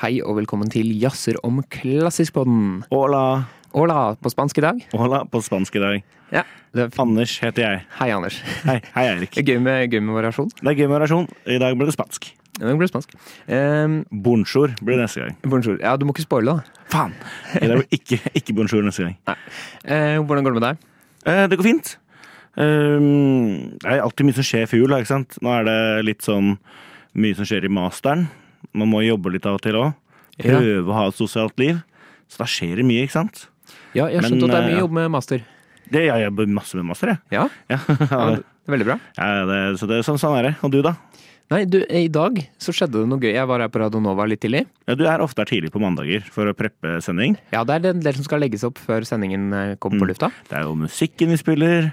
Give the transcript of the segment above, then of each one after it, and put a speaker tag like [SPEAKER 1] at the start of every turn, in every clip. [SPEAKER 1] Hei og velkommen til Jazzer om klassisk-podden.
[SPEAKER 2] Hola.
[SPEAKER 1] Hola på spansk i dag.
[SPEAKER 2] Hola på spansk i dag.
[SPEAKER 1] Ja. Det er f
[SPEAKER 2] Anders heter jeg.
[SPEAKER 1] Hei, Anders.
[SPEAKER 2] Hei, hei Eirik.
[SPEAKER 1] Det er Gøy med, gøy med variasjon.
[SPEAKER 2] Det er gøy med variasjon. I dag ble det spansk.
[SPEAKER 1] Ja, Det blir spansk. Um,
[SPEAKER 2] Bonjour blir det neste gang.
[SPEAKER 1] bonjour. Ja, du må ikke spoile, da.
[SPEAKER 2] Faen! I dag blir det ikke, ikke bonjour neste gang.
[SPEAKER 1] Eh, hvordan går det med deg?
[SPEAKER 2] Eh, det går fint. Ehm, det er alltid mye som skjer før jul, da, ikke sant? Nå er det litt sånn mye som skjer i masteren. Man må jobbe litt av og til òg.
[SPEAKER 1] Ja.
[SPEAKER 2] Prøve å ha et sosialt liv. Så da skjer det mye, ikke sant?
[SPEAKER 1] Ja, jeg har
[SPEAKER 2] Men,
[SPEAKER 1] skjønt at det er
[SPEAKER 2] eh,
[SPEAKER 1] mye
[SPEAKER 2] ja.
[SPEAKER 1] jobb med master.
[SPEAKER 2] Det, jeg jobber masse med master, jeg.
[SPEAKER 1] Ja,
[SPEAKER 2] Ja,
[SPEAKER 1] ja
[SPEAKER 2] ja,
[SPEAKER 1] det er veldig bra.
[SPEAKER 2] det, så det, sånn, sånn er det. Og du, da?
[SPEAKER 1] Nei, du, eh, i dag så skjedde det noe gøy. Jeg var her på Radionova litt tidlig.
[SPEAKER 2] Ja, du er ofte her tidlig på mandager for å preppe sending.
[SPEAKER 1] Ja, det er det en del som skal legges opp før sendingen eh, kommer på lufta.
[SPEAKER 2] Det er jo musikken vi spiller,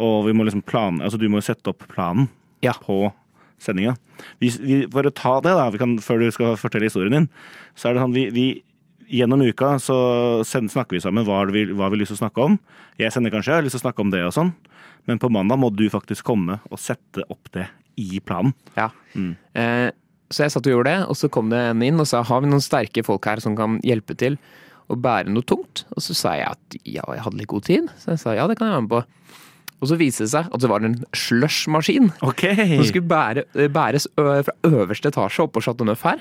[SPEAKER 2] og vi må liksom plan, altså du må jo sette opp planen
[SPEAKER 1] Ja.
[SPEAKER 2] på sendinga. Vi, vi, for å ta det, da, vi kan, før du skal fortelle historien din, så er det sånn vi, vi Gjennom uka så send, snakker vi sammen hva er det vi, hva vi har lyst til å snakke om. Jeg sender kanskje, jeg har lyst til å snakke om det og sånn. Men på mandag må du faktisk komme og sette opp det i planen.
[SPEAKER 1] Ja.
[SPEAKER 2] Mm.
[SPEAKER 1] Eh, så jeg satt og gjorde det, og så kom det en inn og sa har vi noen sterke folk her som kan hjelpe til å bære noe tungt? Og så sa jeg at ja, jeg hadde litt god tid, så jeg sa ja, det kan jeg være med på. Og så viste det seg at det var en slushmaskin
[SPEAKER 2] Ok!
[SPEAKER 1] som skulle bære, eh, bæres ø fra øverste etasje opp på Chateau Neuf her.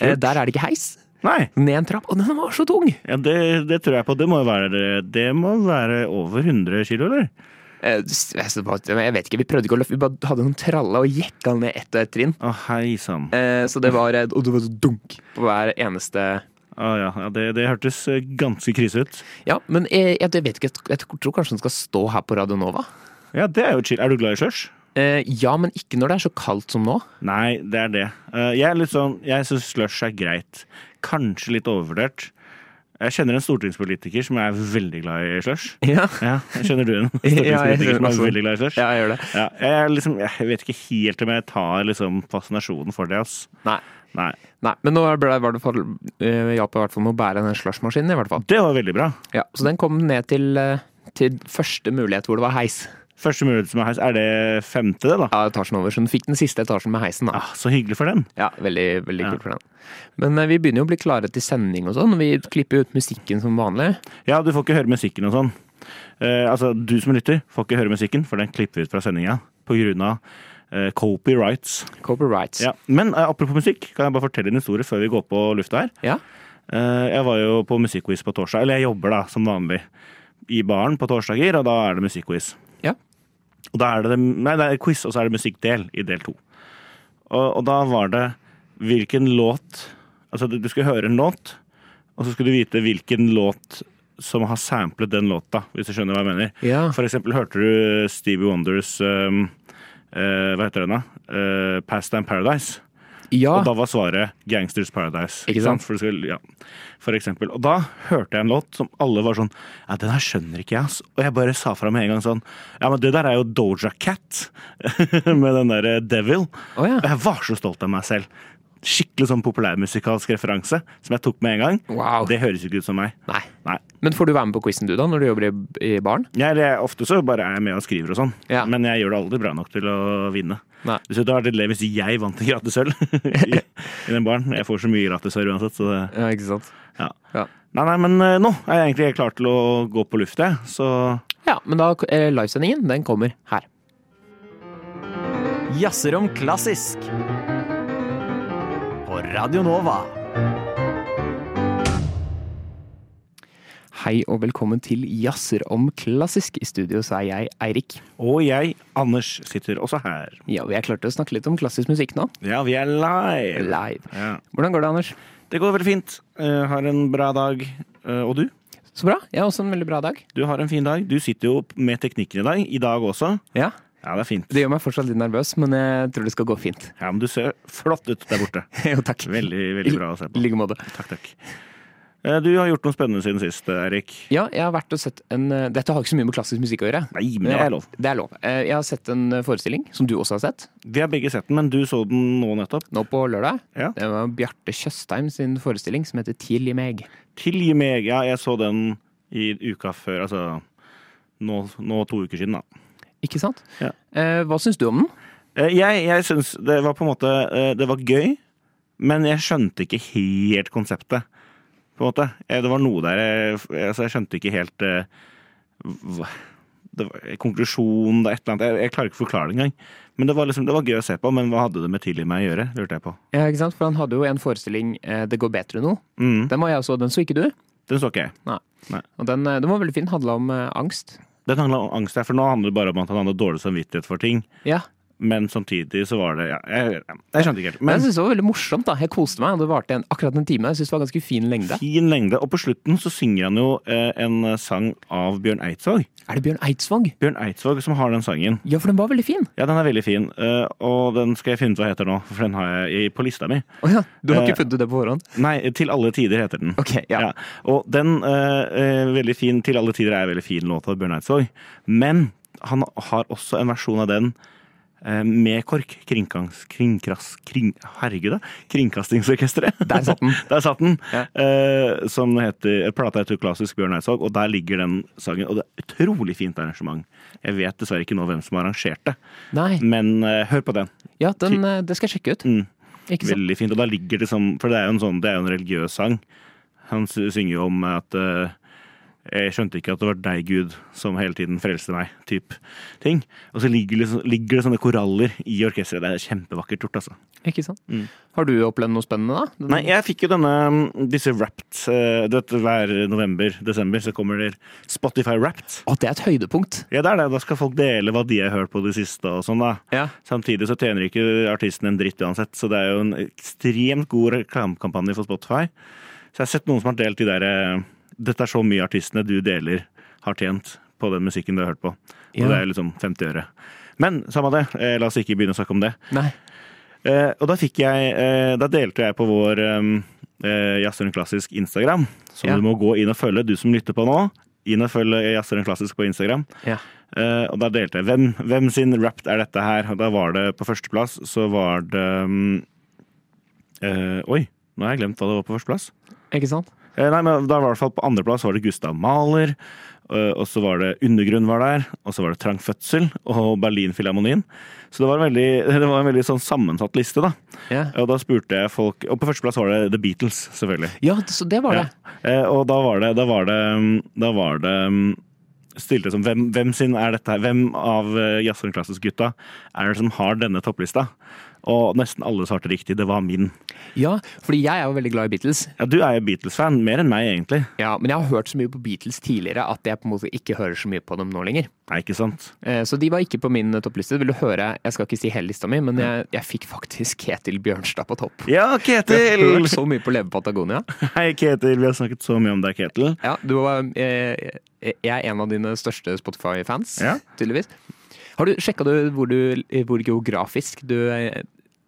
[SPEAKER 1] Eh, der er det ikke heis.
[SPEAKER 2] Nei,
[SPEAKER 1] Ned en trapp. Og den var så tung!
[SPEAKER 2] ja, det, det tror jeg på. Det må jo være, det må være over 100 kilo, eller?
[SPEAKER 1] Eh, s- jeg vet ikke, vi prøvde ikke å løfte, vi bare hadde noen tralle og jekka den ned ett og ett trinn.
[SPEAKER 2] Å, hei sann.
[SPEAKER 1] Eh, så det var, eh, og det var dunk på hver eneste
[SPEAKER 2] Ah, ja, ja det, det hørtes eh, ganske krise ut.
[SPEAKER 1] Ja, men jeg, jeg, jeg vet ikke, jeg tror kanskje den skal stå her på Radio Nova.
[SPEAKER 2] Ja, det er jo chill. Er du glad i slush?
[SPEAKER 1] Eh, ja, men ikke når det er så kaldt som nå.
[SPEAKER 2] Nei, det er det. Eh, Jeg er litt sånn, jeg syns slush er greit. Kanskje litt overvurdert. Jeg kjenner en stortingspolitiker som er veldig glad i slush.
[SPEAKER 1] Ja,
[SPEAKER 2] Ja, Kjenner du en
[SPEAKER 1] Ja, jeg
[SPEAKER 2] stortingspolitiker
[SPEAKER 1] kjenner
[SPEAKER 2] som
[SPEAKER 1] masse.
[SPEAKER 2] er veldig glad i slush?
[SPEAKER 1] jeg gjør det.
[SPEAKER 2] Ja, jeg, er liksom, jeg vet ikke helt om jeg tar liksom fascinasjonen for det. ass.
[SPEAKER 1] Nei,
[SPEAKER 2] Nei.
[SPEAKER 1] nei men nå ble det i hvert fall eh, hjalp i hvert fall med å bære den slushmaskinen, i hvert fall.
[SPEAKER 2] Det var veldig bra.
[SPEAKER 1] Ja, så den kom ned til, eh, til første mulighet hvor det var heis.
[SPEAKER 2] Første mulighet som er heis, er det femte, det, da?
[SPEAKER 1] Ja, etasjen over, så den fikk den siste etasjen med heisen, da.
[SPEAKER 2] Ah, så hyggelig for den.
[SPEAKER 1] Ja, veldig, veldig kult for den. Men eh, vi begynner jo å bli klare til sending og sånn. Vi klipper jo ut musikken som vanlig.
[SPEAKER 2] Ja, du får ikke høre musikken og sånn. Eh, altså, du som lytter, får ikke høre musikken, for den klipper vi ut fra sendinga pga. Uh, copyrights.
[SPEAKER 1] Copyrights.
[SPEAKER 2] Ja. Men eh, apropos musikk, kan jeg bare fortelle en historie før vi går på lufta her?
[SPEAKER 1] Ja.
[SPEAKER 2] Eh, jeg var jo på musikkquiz på torsdag, eller jeg jobber da, som vanlig, i baren på torsdager, og da er det musikkquiz.
[SPEAKER 1] Ja.
[SPEAKER 2] Og da er det, nei, det er quiz, og så er det musikkdel i del to. Og, og da var det hvilken låt Altså, du du skulle høre en låt, og så skulle du vite hvilken låt som har samplet den låta, hvis du skjønner hva jeg mener.
[SPEAKER 1] Ja.
[SPEAKER 2] For eksempel hørte du Stevie Wonders um, eh, Hva heter den, da? Eh, Past and Paradise.
[SPEAKER 1] ja.
[SPEAKER 2] Og da var svaret Gangsters Paradise.
[SPEAKER 1] Ah. Ikke sant?
[SPEAKER 2] For, det skulle- ja. for eksempel. Og da hørte jeg en låt som alle var sånn Ja, den her skjønner ikke jeg, ass. Og jeg bare sa fra med en gang sånn Ja, men det der er jo Doja Cat med den derre Devil.
[SPEAKER 1] Å, ja.
[SPEAKER 2] Og jeg var så stolt av meg selv. Skikkelig sånn populærmusikalsk referanse som jeg tok med en gang.
[SPEAKER 1] Wow.
[SPEAKER 2] Det høres jo ikke ut som meg.
[SPEAKER 1] Nei.
[SPEAKER 2] Nei.
[SPEAKER 1] Men får du være med på quizen du, da, når du jobber i, i baren?
[SPEAKER 2] Jeg, jeg, ofte så bare er jeg med og skriver og sånn,
[SPEAKER 1] Ja.
[SPEAKER 2] men jeg gjør det aldri bra nok til å vinne.
[SPEAKER 1] Nei.
[SPEAKER 2] Hvis det hadde vært litt le hvis jeg vant til gratis øl i, i den baren. Jeg får så mye gratis øl uansett, så det
[SPEAKER 1] Ja, ikke sant.
[SPEAKER 2] Ja.
[SPEAKER 1] Ja.
[SPEAKER 2] Nei, nei, men eh, nå er jeg egentlig helt klar til å gå på luft, jeg. Så
[SPEAKER 1] Ja, men da eh, livesendingen, den kommer her.
[SPEAKER 3] Jazzer om klassisk. På Radio Nova.
[SPEAKER 1] Hei og velkommen til Jazzer om klassisk. I studio så er jeg Eirik.
[SPEAKER 2] Og jeg, Anders, sitter også her.
[SPEAKER 1] Ja, og jeg klarte å snakke litt om klassisk musikk nå.
[SPEAKER 2] Ja, vi er live.
[SPEAKER 1] Live.
[SPEAKER 2] Ja.
[SPEAKER 1] Hvordan går det, Anders?
[SPEAKER 2] Det går veldig fint. Eh, har en bra dag. Eh, og du?
[SPEAKER 1] Så bra. Jeg har også en veldig bra dag.
[SPEAKER 2] Du har en fin dag. Du sitter jo med teknikken i dag. I dag også.
[SPEAKER 1] Ja.
[SPEAKER 2] Ja, det er fint.
[SPEAKER 1] Det gjør meg fortsatt litt nervøs, men jeg tror det skal gå fint.
[SPEAKER 2] Ja, men du ser flott ut der borte.
[SPEAKER 1] jo, takk.
[SPEAKER 2] Veldig, veldig bra å se
[SPEAKER 1] I
[SPEAKER 2] på.
[SPEAKER 1] like måte.
[SPEAKER 2] Takk, takk. Eh, Du har gjort noe spennende siden sist, eh, Erik.
[SPEAKER 1] Ja, jeg har vært og sett en eh, Dette har ikke så mye med klassisk musikk å gjøre.
[SPEAKER 2] Nei, men det er lov.
[SPEAKER 1] Det er lov. Eh, Jeg har sett en forestilling, som du også har sett,
[SPEAKER 2] Vi har begge sett den, men du så den nå nettopp.
[SPEAKER 1] nå på lørdag.
[SPEAKER 2] Ja.
[SPEAKER 1] Det var Bjarte Tjøstheim sin forestilling som heter Tilgi meg.
[SPEAKER 2] Tilgi meg. Ja, jeg så den i uka før, altså nå, nå to uker siden, da.
[SPEAKER 1] Ikke sant?
[SPEAKER 2] Ja.
[SPEAKER 1] Eh, hva syns du om den?
[SPEAKER 2] Eh, Jeg, jeg syns det var på en måte eh, Det var gøy, Men jeg skjønte ikke helt konseptet, på en måte. Eh, Det var noe der jeg, altså jeg skjønte ikke helt eh, hva, det var, eh, Konklusjonen, det er et eller annet. Jeg, jeg klarer ikke å forklare det engang. Men det var, liksom, det var gøy å se på, men hva hadde det med tidlig meg å gjøre? lurte jeg på.
[SPEAKER 1] Ja, ikke sant? For han hadde jo en forestilling, eh, 'Det går bedre nå'.
[SPEAKER 2] Mm,
[SPEAKER 1] Den var jeg også, den så ikke du.
[SPEAKER 2] den så ikke jeg.
[SPEAKER 1] Og den, eh, den var veldig fin, handla om eh, angst.
[SPEAKER 2] Den handla om angst, her, for nå handler det bare om at han hadde dårlig samvittighet for ting.
[SPEAKER 1] Ja,
[SPEAKER 2] Men samtidig så var det ja, jeg, jeg skjønte ikke helt.
[SPEAKER 1] men
[SPEAKER 2] Men
[SPEAKER 1] Jeg synes det var veldig morsomt. da, Jeg koste meg. og Det varte en, akkurat en time. Jeg synes det var ganske fin lengde.
[SPEAKER 2] fin lengde. Og på slutten så synger han jo eh, en sang av Bjørn Eidsvåg.
[SPEAKER 1] Er det Bjørn Eidsvåg?
[SPEAKER 2] Bjørn Eidsvåg som har den sangen.
[SPEAKER 1] Ja, for den var veldig fin.
[SPEAKER 2] Ja, den er veldig fin, eh, og den skal jeg finne ut hva heter nå, for den har jeg i- på lista mi.
[SPEAKER 1] Å ja, Du har
[SPEAKER 2] Eh,
[SPEAKER 1] ikke funnet ut det på forhånd?
[SPEAKER 2] Nei, Til alle tider heter den.
[SPEAKER 1] Ok, ja.
[SPEAKER 2] Ja, og den eh, eh, veldig fin, Til alle tider er en veldig fin låt av Bjørn Eidsvåg, men han har også en versjon av den eh, med KORK, kringkast, kringkras, kring, herregud da, Kringkastingsorkesteret.
[SPEAKER 1] Der satt den.
[SPEAKER 2] Der satt den.
[SPEAKER 1] Ja.
[SPEAKER 2] Eh, som heter Plata heter Klassisk Bjørn Eidsvåg, og der ligger den sangen. Og det er utrolig fint arrangement. Jeg vet dessverre ikke nå hvem som arrangerte,
[SPEAKER 1] Nei,
[SPEAKER 2] men eh, hør på den.
[SPEAKER 1] ja, den, eh, det skal jeg sjekke ut.
[SPEAKER 2] Mm.
[SPEAKER 1] Ikke sant?
[SPEAKER 2] Veldig fint. Og da ligger det som For det er jo en sånn Det er jo en religiøs sang. Han sy- synger jo om at eh, jeg skjønte ikke at det var deg, Gud, som hele tiden frelste meg. Typ ting. Og så ligger det, så- ligger det sånne koraller i orkesteret. Det er kjempevakkert gjort, altså.
[SPEAKER 1] Ikke sant?
[SPEAKER 2] Mm.
[SPEAKER 1] Har du opplevd noe spennende, da?
[SPEAKER 2] Nei, jeg fikk jo denne mm, disse wrapped eh, Du vet, hver november-desember så kommer det Spotify wrapped.
[SPEAKER 1] Å, det er et høydepunkt.
[SPEAKER 2] Ja, det er det. Da skal folk dele hva de har hørt på det siste og sånn, da.
[SPEAKER 1] Ja.
[SPEAKER 2] Samtidig så tjener ikke artisten en dritt uansett, så det er jo en ekstremt god reklamekampanje for Spotify. Så jeg har sett noen som har delt de der eh, Dette er så mye artistene du deler har tjent på den musikken du har hørt på. Og
[SPEAKER 1] Ja.
[SPEAKER 2] det er liksom 50 øre. Men samme det, eh, la oss ikke begynne å snakke om det.
[SPEAKER 1] Nei.
[SPEAKER 2] Eh, og da fikk jeg eh, Da delte jeg på vår eh, eh, Jazzhøren Klassisk Instagram, som
[SPEAKER 1] Ja.
[SPEAKER 2] du må gå inn og følge, du som lytter på nå. Inn og følge Jazzhøren Klassisk på Instagram.
[SPEAKER 1] Ja.
[SPEAKER 2] Eh, og da delte jeg hvem, hvem sin rapt er dette her. Og da var det på førsteplass så var det mm, eh, Oi, nå har jeg glemt hva det var på førsteplass.
[SPEAKER 1] Ikke sant?
[SPEAKER 2] Eh, nei, men da var det i hvert fall på andreplass var det Gustav Mahler. eh, og så var det Undergrunn var der, og så var det Trang Fødsel og Berlinfilharmonien. Så det var en veldig, det var en veldig sånn sammensatt liste, da.
[SPEAKER 1] Ja,
[SPEAKER 2] Og da spurte jeg folk Og på førsteplass var det The Beatles, selvfølgelig.
[SPEAKER 1] ja så det var det.
[SPEAKER 2] Ja. Eh, Og da var det Da var det, da var det mm, Stilte som hvem, hvem sin er dette her? Hvem av eh, jazz og klassisk-gutta er det som har denne topplista? Og nesten alle svarte riktig. Det var min.
[SPEAKER 1] Ja, fordi jeg er jo veldig glad i Beatles.
[SPEAKER 2] Ja, du er jo Beatles-fan. Mer enn meg, egentlig.
[SPEAKER 1] Ja, Men jeg har hørt så mye på Beatles tidligere at jeg på en måte ikke hører så mye på dem nå lenger.
[SPEAKER 2] Nei, ikke sant?
[SPEAKER 1] Eh, Så de var ikke på min eh, toppliste. Vil du høre, jeg skal ikke si hele lista mi, men jeg, jeg fikk faktisk Ketil Bjørnstad på topp.
[SPEAKER 2] Ja,
[SPEAKER 1] Jeg har
[SPEAKER 2] Ketil!
[SPEAKER 1] hørt så mye på Leve Patagonia.
[SPEAKER 2] Hei, Ketil. Vi har snakket så mye om deg, Ketil.
[SPEAKER 1] Ja, du var, eh, jeg er en av dine største Spotify-fans,
[SPEAKER 2] Ja.
[SPEAKER 1] tydeligvis. Har du sjekka du hvor, du hvor geografisk du eh,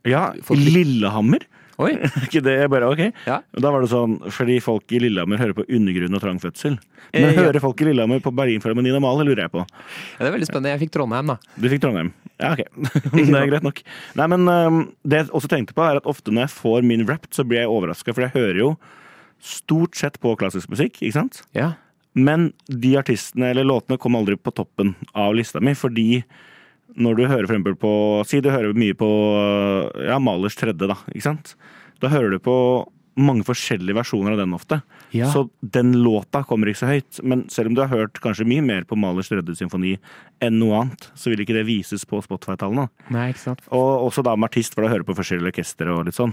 [SPEAKER 2] Ja,
[SPEAKER 1] Folk-
[SPEAKER 2] Lillehammer?
[SPEAKER 1] Oi!
[SPEAKER 2] Ikke det, jeg bare, ok.
[SPEAKER 1] Ja.
[SPEAKER 2] Da var det sånn, fordi folk i Lillehammer hører på undergrunn og trang fødsel. Men
[SPEAKER 1] Eh, ja.
[SPEAKER 2] hører folk i Lillehammer på Berlinfilharmonien og Maler, lurer jeg på.
[SPEAKER 1] Ja, det er veldig spennende. Jeg fikk Trondheim, da.
[SPEAKER 2] Du fikk Trondheim. Ja, ok. det er greit nok. Nei, men øhm, det jeg også tenkte på, er at ofte når jeg får min rap, så blir jeg overraska, for jeg hører jo stort sett på klassisk musikk, ikke sant?
[SPEAKER 1] Ja.
[SPEAKER 2] Men de artistene eller låtene kom aldri på toppen av lista mi, fordi når du hører for eksempel på Si du hører mye på ja, Malers tredje, da. ikke sant? Da hører du på mange forskjellige versjoner av den ofte.
[SPEAKER 1] Ja.
[SPEAKER 2] Så den låta kommer ikke så høyt. Men selv om du har hørt kanskje mye mer på Malers tredje symfoni enn noe annet, så vil ikke det vises på Spotify-tallene.
[SPEAKER 1] Nei, ikke sant.
[SPEAKER 2] Og også da med artist, for da hører du på forskjellige orkestre og litt sånn.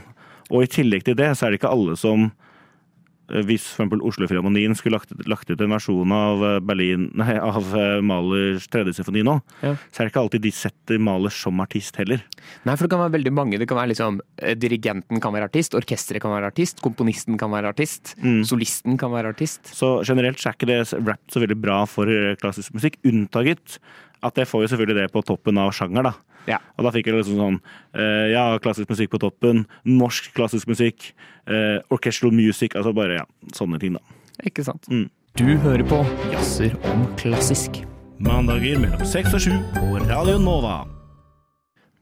[SPEAKER 2] Og i tillegg til det, så er det ikke alle som eh, hvis for eksempel Oslo-filharmonien skulle lagt, lagt ut en versjon av, eh, Berlin, nei, av eh, Mahlers tredje symfoni nå,
[SPEAKER 1] Ja.
[SPEAKER 2] så er det ikke alltid de setter Mahler som artist heller.
[SPEAKER 1] Nei, for det kan være veldig mange. Det kan være liksom eh, Dirigenten kan være artist, orkesteret kan være artist, komponisten kan være artist,
[SPEAKER 2] Mm.
[SPEAKER 1] solisten kan være artist.
[SPEAKER 2] Så generelt så er ikke det rap så veldig bra for eh, klassisk musikk, unntaget at jeg får jo selvfølgelig det på toppen av sjanger, da.
[SPEAKER 1] Ja.
[SPEAKER 2] Og da fikk jeg liksom sånn eh, Ja, klassisk musikk på toppen, norsk klassisk musikk, eh, orchestral music, altså bare ja, sånne ting, da.
[SPEAKER 1] Ikke sant.
[SPEAKER 2] Mm.
[SPEAKER 1] Du hører på Jazzer om klassisk.
[SPEAKER 2] Mandager mellom 6 og 7 på Radio Nova.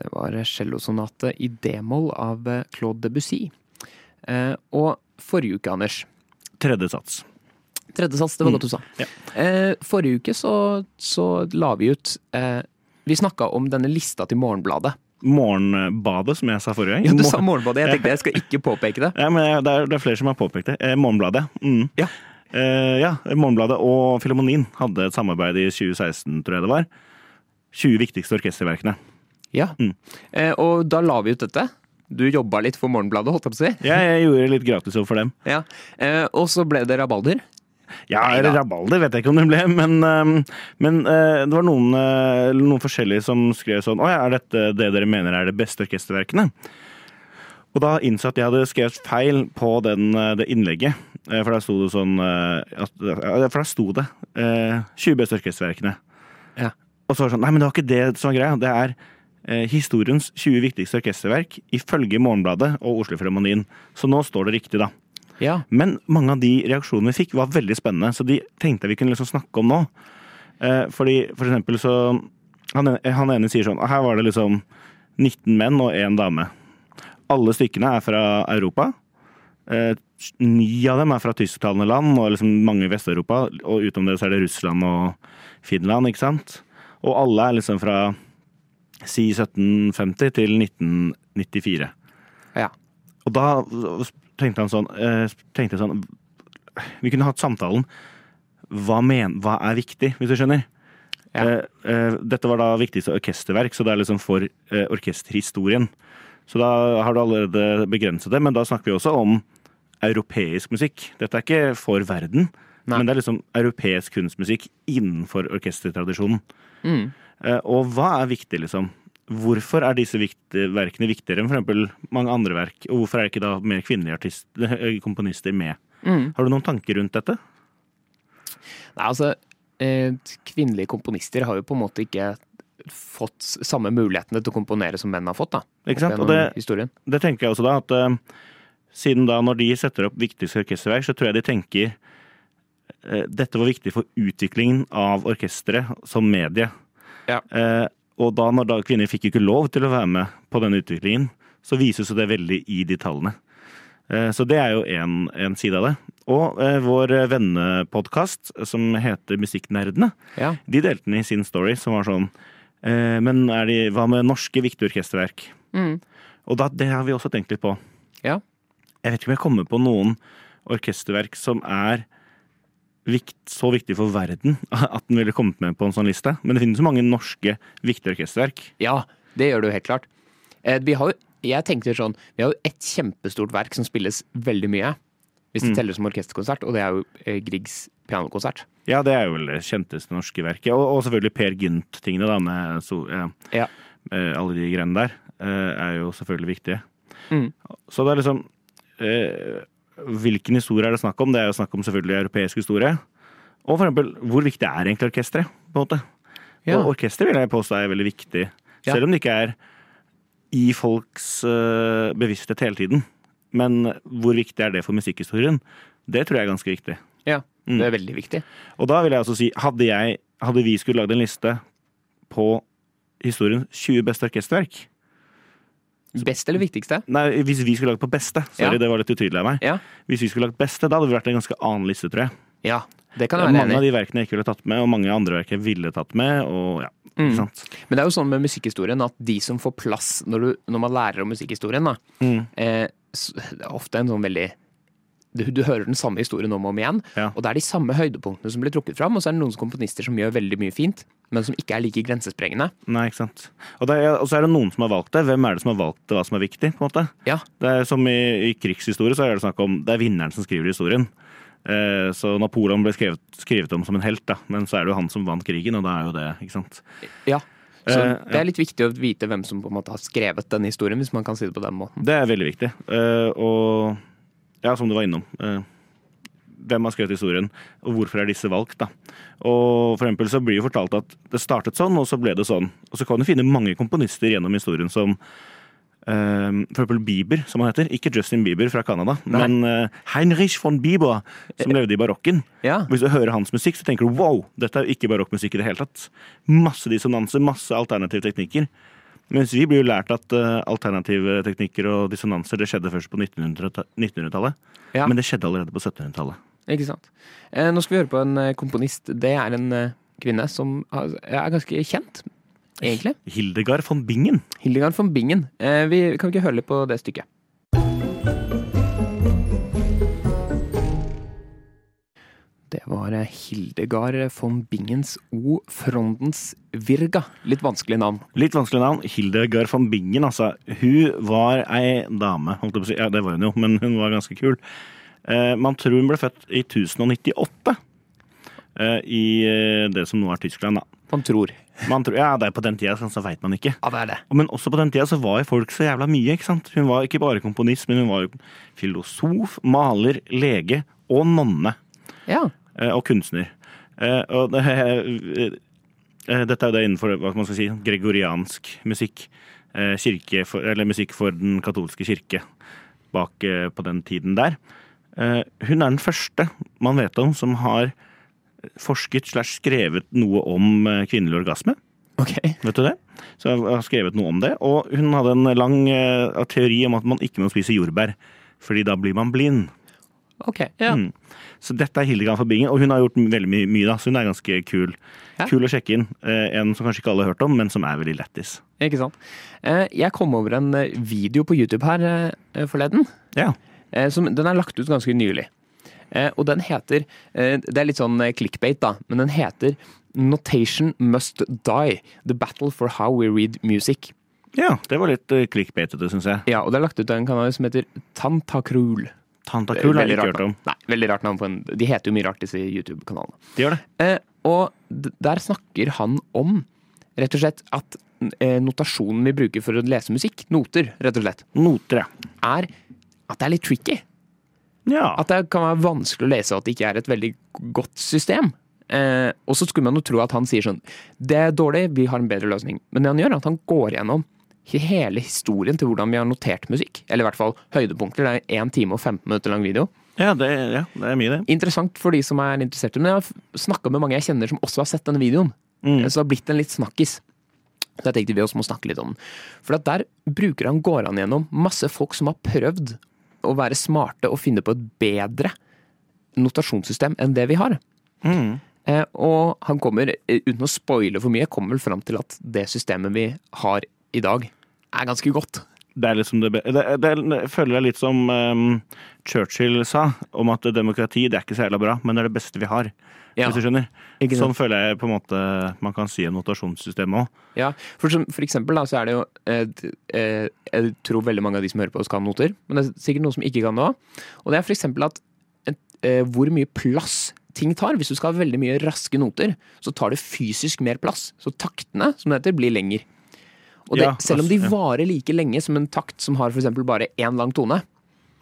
[SPEAKER 1] Det var cellosonate i d-moll av eh, Claude Debussy. Eh, og forrige uke, Anders
[SPEAKER 2] Tredje sats.
[SPEAKER 1] Tredje sats, det var godt du sa.
[SPEAKER 2] Ja.
[SPEAKER 1] Eh, forrige uke så, så la vi ut eh, Vi snakka om denne lista til Morgenbladet
[SPEAKER 2] morgenbadet, som jeg sa forrige gang.
[SPEAKER 1] Ja, du
[SPEAKER 2] Mor-
[SPEAKER 1] sa morgenbadet. Jeg tenkte jeg skal ikke påpeke det.
[SPEAKER 2] Ja, men jeg- det er, det er flere som har påpekt det. Eh, Morgenbladet. Mm.
[SPEAKER 1] Ja.
[SPEAKER 2] Eh, ja, Morgenbladet og Filharmonien hadde et samarbeid i 2016, tror jeg det var. 20 viktigste orkesterverkene.
[SPEAKER 1] Ja.
[SPEAKER 2] Mm.
[SPEAKER 1] Eh, og da la vi ut dette. Du jobba litt for Morgenbladet, holdt jeg på å si.
[SPEAKER 2] Jeg, jeg gjorde litt gratisjobb for dem.
[SPEAKER 1] Ja. Eh, og så ble det rabalder.
[SPEAKER 2] Ja, eller rabalder vet jeg ikke om det ble, men, eh, men eh, det var noen, eh, noen forskjellige som skrev sånn Å ja, er dette det dere mener er det beste orkesterverkene? Og da innså jeg at jeg hadde skrevet feil på den, eh, det innlegget. Eh, For da sto det sånn eh, at, ja, For da sto det eh, 20 beste orkesterverkene.
[SPEAKER 1] Ja.
[SPEAKER 2] Og så var det sånn Nei, men det var ikke det som var greia. Det er eh, historiens 20 viktigste orkesterverk ifølge Morgenbladet og Oslo Filharmonien. Så nå står det riktig, da.
[SPEAKER 1] Ja.
[SPEAKER 2] Men mange av de reaksjonene vi fikk, var veldig spennende, så de tenkte jeg vi kunne liksom snakke om nå. Eh, fordi for eksempel så han, ene- han ene sier sånn Her var det liksom 19 menn og én dame. Alle stykkene er fra Europa. Eh, ni av dem er fra tysktalende land og liksom mange i Vest-Europa. Og utom det så er det Russland og Finland, ikke sant. Og alle er liksom fra si 1750 til 1994.
[SPEAKER 1] Ja.
[SPEAKER 2] Og da tenkte han sånn, eh, tenkte jeg sånn Vi kunne hatt samtalen. Hva, men, hva er viktig, hvis du skjønner?
[SPEAKER 1] Ja.
[SPEAKER 2] Eh, eh, dette var da viktigste orkesterverk, så det er liksom for eh, orkesterhistorien. Så da har du allerede begrenset det, men da snakker vi også om europeisk musikk. Dette er ikke for verden,
[SPEAKER 1] Nei.
[SPEAKER 2] men det er liksom europeisk kunstmusikk innenfor orkestertradisjonen.
[SPEAKER 1] Mm.
[SPEAKER 2] Eh, Og hva er viktig, liksom? Hvorfor er disse vikt- verkene viktigere enn f.eks. mange andre verk? Og hvorfor er ikke da mer kvinnelige artist, eh, komponister med?
[SPEAKER 1] Mm.
[SPEAKER 2] Har du noen tanker rundt dette?
[SPEAKER 1] Nei, altså, eh, kvinnelige komponister har jo på en måte ikke fått s- samme mulighetene til å komponere som menn har fått, da.
[SPEAKER 2] Ikke sant?
[SPEAKER 1] Gjennom
[SPEAKER 2] Og det,
[SPEAKER 1] historien.
[SPEAKER 2] det tenker jeg også da, at eh, siden da når de setter opp viktigste orkesterverk, så tror jeg de tenker eh, dette var viktig for utviklingen av orkesteret som medie.
[SPEAKER 1] Ja.
[SPEAKER 2] Eh, og da når da kvinner fikk jo ikke lov til å være med på denne utviklingen, så vises jo det veldig i de tallene. Eh, så det er jo en, en side av det. Og eh, vår vennepodkast som heter Musikknerdene,
[SPEAKER 1] Ja.
[SPEAKER 2] de delte den i sin story, som var sånn eh, Men er de, hva med norske viktige orkesterverk?
[SPEAKER 1] Mm.
[SPEAKER 2] Og da, det har vi også tenkt litt på.
[SPEAKER 1] Ja.
[SPEAKER 2] Jeg vet ikke om jeg kommer på noen orkesterverk som er vikt, så viktig for verden at den ville kommet med på en sånn liste. Men det finnes jo mange norske viktige orkesterverk.
[SPEAKER 1] ja, det gjør du helt klart. Eh, vi har jo, jeg tenkte sånn, vi har jo et kjempestort verk som spilles veldig mye, hvis
[SPEAKER 2] Mm.
[SPEAKER 1] det teller som orkesterkonsert, og det er jo eh, Griegs pianokonsert.
[SPEAKER 2] Ja, det er jo vel det kjenteste norske verket. Og, og selvfølgelig Per Gynt-tingene, da, med so, eh,
[SPEAKER 1] Ja.
[SPEAKER 2] eh, alle de greiene der, eh, er jo selvfølgelig viktige.
[SPEAKER 1] Mm.
[SPEAKER 2] Så det er liksom eh, Hvilken historie er det snakk om? Det er jo snakk om selvfølgelig europeisk historie. Og for eksempel, hvor viktig er egentlig orkesteret? på en måte?
[SPEAKER 1] Ja.
[SPEAKER 2] Og orkester vil jeg påstå er veldig viktig,
[SPEAKER 1] Ja.
[SPEAKER 2] selv om det ikke er i folks eh, bevissthet hele tiden. Men hvor viktig er det for musikkhistorien? Det tror jeg er ganske viktig.
[SPEAKER 1] Ja,
[SPEAKER 2] Mm.
[SPEAKER 1] det er veldig viktig.
[SPEAKER 2] Og da vil jeg også si, hadde, jeg, hadde vi skulle lagd en liste på historiens 20 beste orkesterverk
[SPEAKER 1] Best eller viktigste?
[SPEAKER 2] Nei, hvis vi skulle lagd på beste. Sorry,
[SPEAKER 1] Ja.
[SPEAKER 2] det var litt utydelig av meg.
[SPEAKER 1] Ja.
[SPEAKER 2] Hvis vi skulle lagd beste, da hadde vi vært en ganske annen liste, tror jeg.
[SPEAKER 1] Ja, det kan jeg være
[SPEAKER 2] Mange av
[SPEAKER 1] enig i.
[SPEAKER 2] de verkene jeg ikke ville tatt med, og mange andre verk jeg ville tatt med, og ja.
[SPEAKER 1] Mm.
[SPEAKER 2] Ikke sant?
[SPEAKER 1] Men det er jo sånn med musikkhistorien at de som får plass når, du, når man lærer om musikkhistorien, da,
[SPEAKER 2] Mm.
[SPEAKER 1] eh, s- det er ofte en sånn veldig du, du hører den samme historien om og om igjen,
[SPEAKER 2] Ja.
[SPEAKER 1] og det er de samme høydepunktene som blir trukket fram. Og så er det noen komponister som gjør veldig mye fint, men som ikke er like grensesprengende.
[SPEAKER 2] Nei, ikke sant. Og, det er, og så er det noen som har valgt det. Hvem er det som har valgt hva som er viktig? på en måte?
[SPEAKER 1] Ja.
[SPEAKER 2] Det er Som i, i krigshistorie så er det snakk om det er vinneren som skriver historien. Eh, så Napoleon ble skrevet, skrevet om som en helt, da. men så er det jo han som vant krigen, og da er jo det ikke sant.
[SPEAKER 1] ja. Så
[SPEAKER 2] Eh,
[SPEAKER 1] det er litt viktig å vite hvem som på en måte har skrevet den historien, hvis man kan si det på den måten.
[SPEAKER 2] Det er veldig viktig. Eh, og ja, som du var innom. eh, hvem har skrevet historien, og hvorfor er disse valgt? da? Og for eksempel så blir jo fortalt at det startet sånn, og så ble det sånn. Og så kan du finne mange komponister gjennom historien som eh, for eksempel Bieber, som han heter. Ikke Justin Bieber fra Canada,
[SPEAKER 1] Nei.
[SPEAKER 2] men eh, Heinrich von Bieber, som levde i barokken.
[SPEAKER 1] Ja.
[SPEAKER 2] Hvis du hører hans musikk, så tenker du wow, dette er jo ikke barokkmusikk i det hele tatt. Masse dissonanser, masse alternative teknikker. Mens vi blir jo lært at eh, alternative teknikker og dissonanser det skjedde først på 1900-tallet. 1900-tallet.
[SPEAKER 1] Ja.
[SPEAKER 2] Men det skjedde allerede på 1700-tallet.
[SPEAKER 1] Ikke sant. Eh, nå skal vi høre på en eh, komponist. Det er en eh, kvinne som har- er ganske kjent. egentlig.
[SPEAKER 2] Hildegard von Bingen.
[SPEAKER 1] Hildegard von Bingen. Eh, vi kan vi ikke høre litt på det stykket. Det var eh, Hildegard von Bingens O. Frondens Virga. Litt vanskelig navn.
[SPEAKER 2] Litt vanskelig navn. Hildegard von Bingen, altså. Hun var ei dame, holdt jeg på å si. Ja, det var hun jo, men hun var ganske kul. Eh, man tror hun ble født i 1098. eh, I eh, det som nå er Tyskland, da.
[SPEAKER 1] Man tror.
[SPEAKER 2] Man tror, ja, det er på den tida, sånn, så veit man ikke.
[SPEAKER 1] Ja, det er det.
[SPEAKER 2] Men også på den tida så var jo folk så jævla mye. ikke sant? Hun var ikke bare komponist, men hun var jo filosof, maler, lege og nonne.
[SPEAKER 1] Ja.
[SPEAKER 2] eh, Og kunstner. Eh, Og det, eh, dette er jo det innenfor hva skal man skal si, gregoriansk musikk. Eh, Kirke for, eller musikk for den katolske kirke bak eh, på den tiden der. Eh, Hun er den første man vet om som har forsket slash skrevet noe om eh, kvinnelig orgasme.
[SPEAKER 1] Ok.
[SPEAKER 2] Vet du det? Så jeg har skrevet noe om det. Og hun hadde en lang eh, teori om at man ikke må spise jordbær, fordi da blir man blind.
[SPEAKER 1] Ok, ja.
[SPEAKER 2] Mm. Så dette er Hildegard von Bingen, og hun har gjort veldig mye, mye da, så hun er ganske kul.
[SPEAKER 1] Ja.
[SPEAKER 2] Kul å sjekke inn. Eh, en som kanskje ikke alle har hørt om, men som er veldig lættis.
[SPEAKER 1] Ikke sant. Eh, Jeg kom over en eh, video på YouTube her eh, forleden.
[SPEAKER 2] Ja.
[SPEAKER 1] eh, som, den er lagt ut ganske nylig. Eh, og den heter eh, Det er litt sånn eh, clickbait, da, men den heter Notation Must Die. The Battle for How We Read Music.
[SPEAKER 2] ja. Det var litt eh, clickbaitete, syns jeg.
[SPEAKER 1] Ja, og det er lagt ut av en kanal som heter Tantakrul.
[SPEAKER 2] Tanta Kul har
[SPEAKER 1] Veldig
[SPEAKER 2] jeg ikke
[SPEAKER 1] rart
[SPEAKER 2] hørt om.
[SPEAKER 1] navn. Nei, veldig rart navn på en De heter jo mye rart, disse YouTube-kanalene.
[SPEAKER 2] De gjør det.
[SPEAKER 1] Eh, og d- der snakker han om rett og slett at eh, notasjonen vi bruker for å lese musikk, noter, rett og slett,
[SPEAKER 2] Noter, ja.
[SPEAKER 1] er at det er litt tricky.
[SPEAKER 2] Ja.
[SPEAKER 1] at det kan være vanskelig å lese, og at det ikke er et veldig godt system. Eh, og så skulle man jo tro at han sier sånn Det er dårlig, vi har en bedre løsning. Men det han gjør, er at han går gjennom he- hele historien til hvordan vi har notert musikk. Eller i hvert fall høydepunkter. Det er 1 time og 15 minutter lang video.
[SPEAKER 2] Ja, det, ja, det er mye, det.
[SPEAKER 1] Interessant for de som er interessert. Men jeg har snakka med mange jeg kjenner som også har sett denne videoen.
[SPEAKER 2] Mm.
[SPEAKER 1] Så det har blitt en litt snakkis. Så jeg tenkte vi også må snakke litt om den. For at der bruker han, går han gjennom masse folk som har prøvd å være smarte og finne på et bedre notasjonssystem enn det vi har.
[SPEAKER 2] Mm.
[SPEAKER 1] Eh, og han kommer, eh, uten å spoile for mye, kommer vel fram til at det systemet vi har i dag, er ganske godt.
[SPEAKER 2] det er liksom det, be- det, det, det føler jeg litt som ehm, Churchill sa, om at demokrati det er ikke så jævla bra, men det er det beste vi har.
[SPEAKER 1] Ja.
[SPEAKER 2] Hvis du skjønner.
[SPEAKER 1] Ikke sant?
[SPEAKER 2] Sånn føler jeg på en måte man kan si om notasjonssystemet òg.
[SPEAKER 1] Ja, for, som, for eksempel da, så er det jo eh, d- eh, Jeg tror veldig mange av de som hører på oss kan noter, men det er sikkert noen som ikke kan det òg. Og det er for eksempel at et, eh, hvor mye plass ting tar. Hvis du skal ha veldig mye raske noter, så tar det fysisk mer plass. Så taktene, som det heter, blir lenger. Og det,
[SPEAKER 2] Ja,
[SPEAKER 1] selv om de
[SPEAKER 2] altså, ja.
[SPEAKER 1] varer like lenge som en takt som har for eksempel bare én lang tone,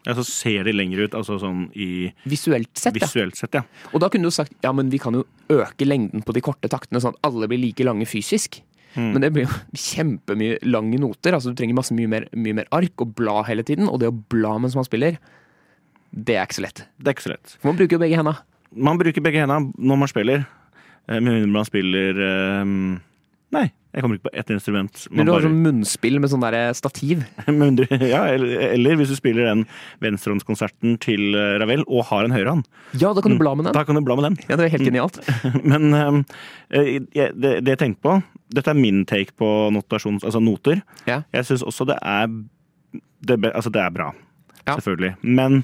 [SPEAKER 2] Ja, så ser de lenger ut, altså sånn i
[SPEAKER 1] visuelt sett, ja.
[SPEAKER 2] visuelt sett, ja.
[SPEAKER 1] Og da kunne du sagt ja, men vi kan jo øke lengden på de korte taktene, sånn at alle blir like lange fysisk.
[SPEAKER 2] Mm.
[SPEAKER 1] Men det blir jo kjempemye lange noter. altså Du trenger masse mye mer, mye mer ark og bla hele tiden. Og det å bla mens man spiller, det er ikke så lett.
[SPEAKER 2] Det er ikke så lett.
[SPEAKER 1] For man bruker jo begge henda.
[SPEAKER 2] Man bruker begge hendene når man spiller, eh, med mindre man spiller ehm, Nei, jeg kommer ikke på ett instrument. Man
[SPEAKER 1] Men du har
[SPEAKER 2] bare-
[SPEAKER 1] sånn munnspill med sånn der stativ.
[SPEAKER 2] med mindre, ja, eller, eller hvis du spiller den venstrehåndskonserten til eh, Ravel og har en høyrehånd,
[SPEAKER 1] Ja, da
[SPEAKER 2] Mm.
[SPEAKER 1] kan du bla med den.
[SPEAKER 2] da kan du bla med den.
[SPEAKER 1] Ja, Det er helt genialt.
[SPEAKER 2] Men ehm, eh, jeg- det, det jeg tenkte på Dette er min take på notasjons, altså noter.
[SPEAKER 1] Ja.
[SPEAKER 2] Jeg syns også det er det, be- Altså, det er bra,
[SPEAKER 1] Ja.
[SPEAKER 2] selvfølgelig. Men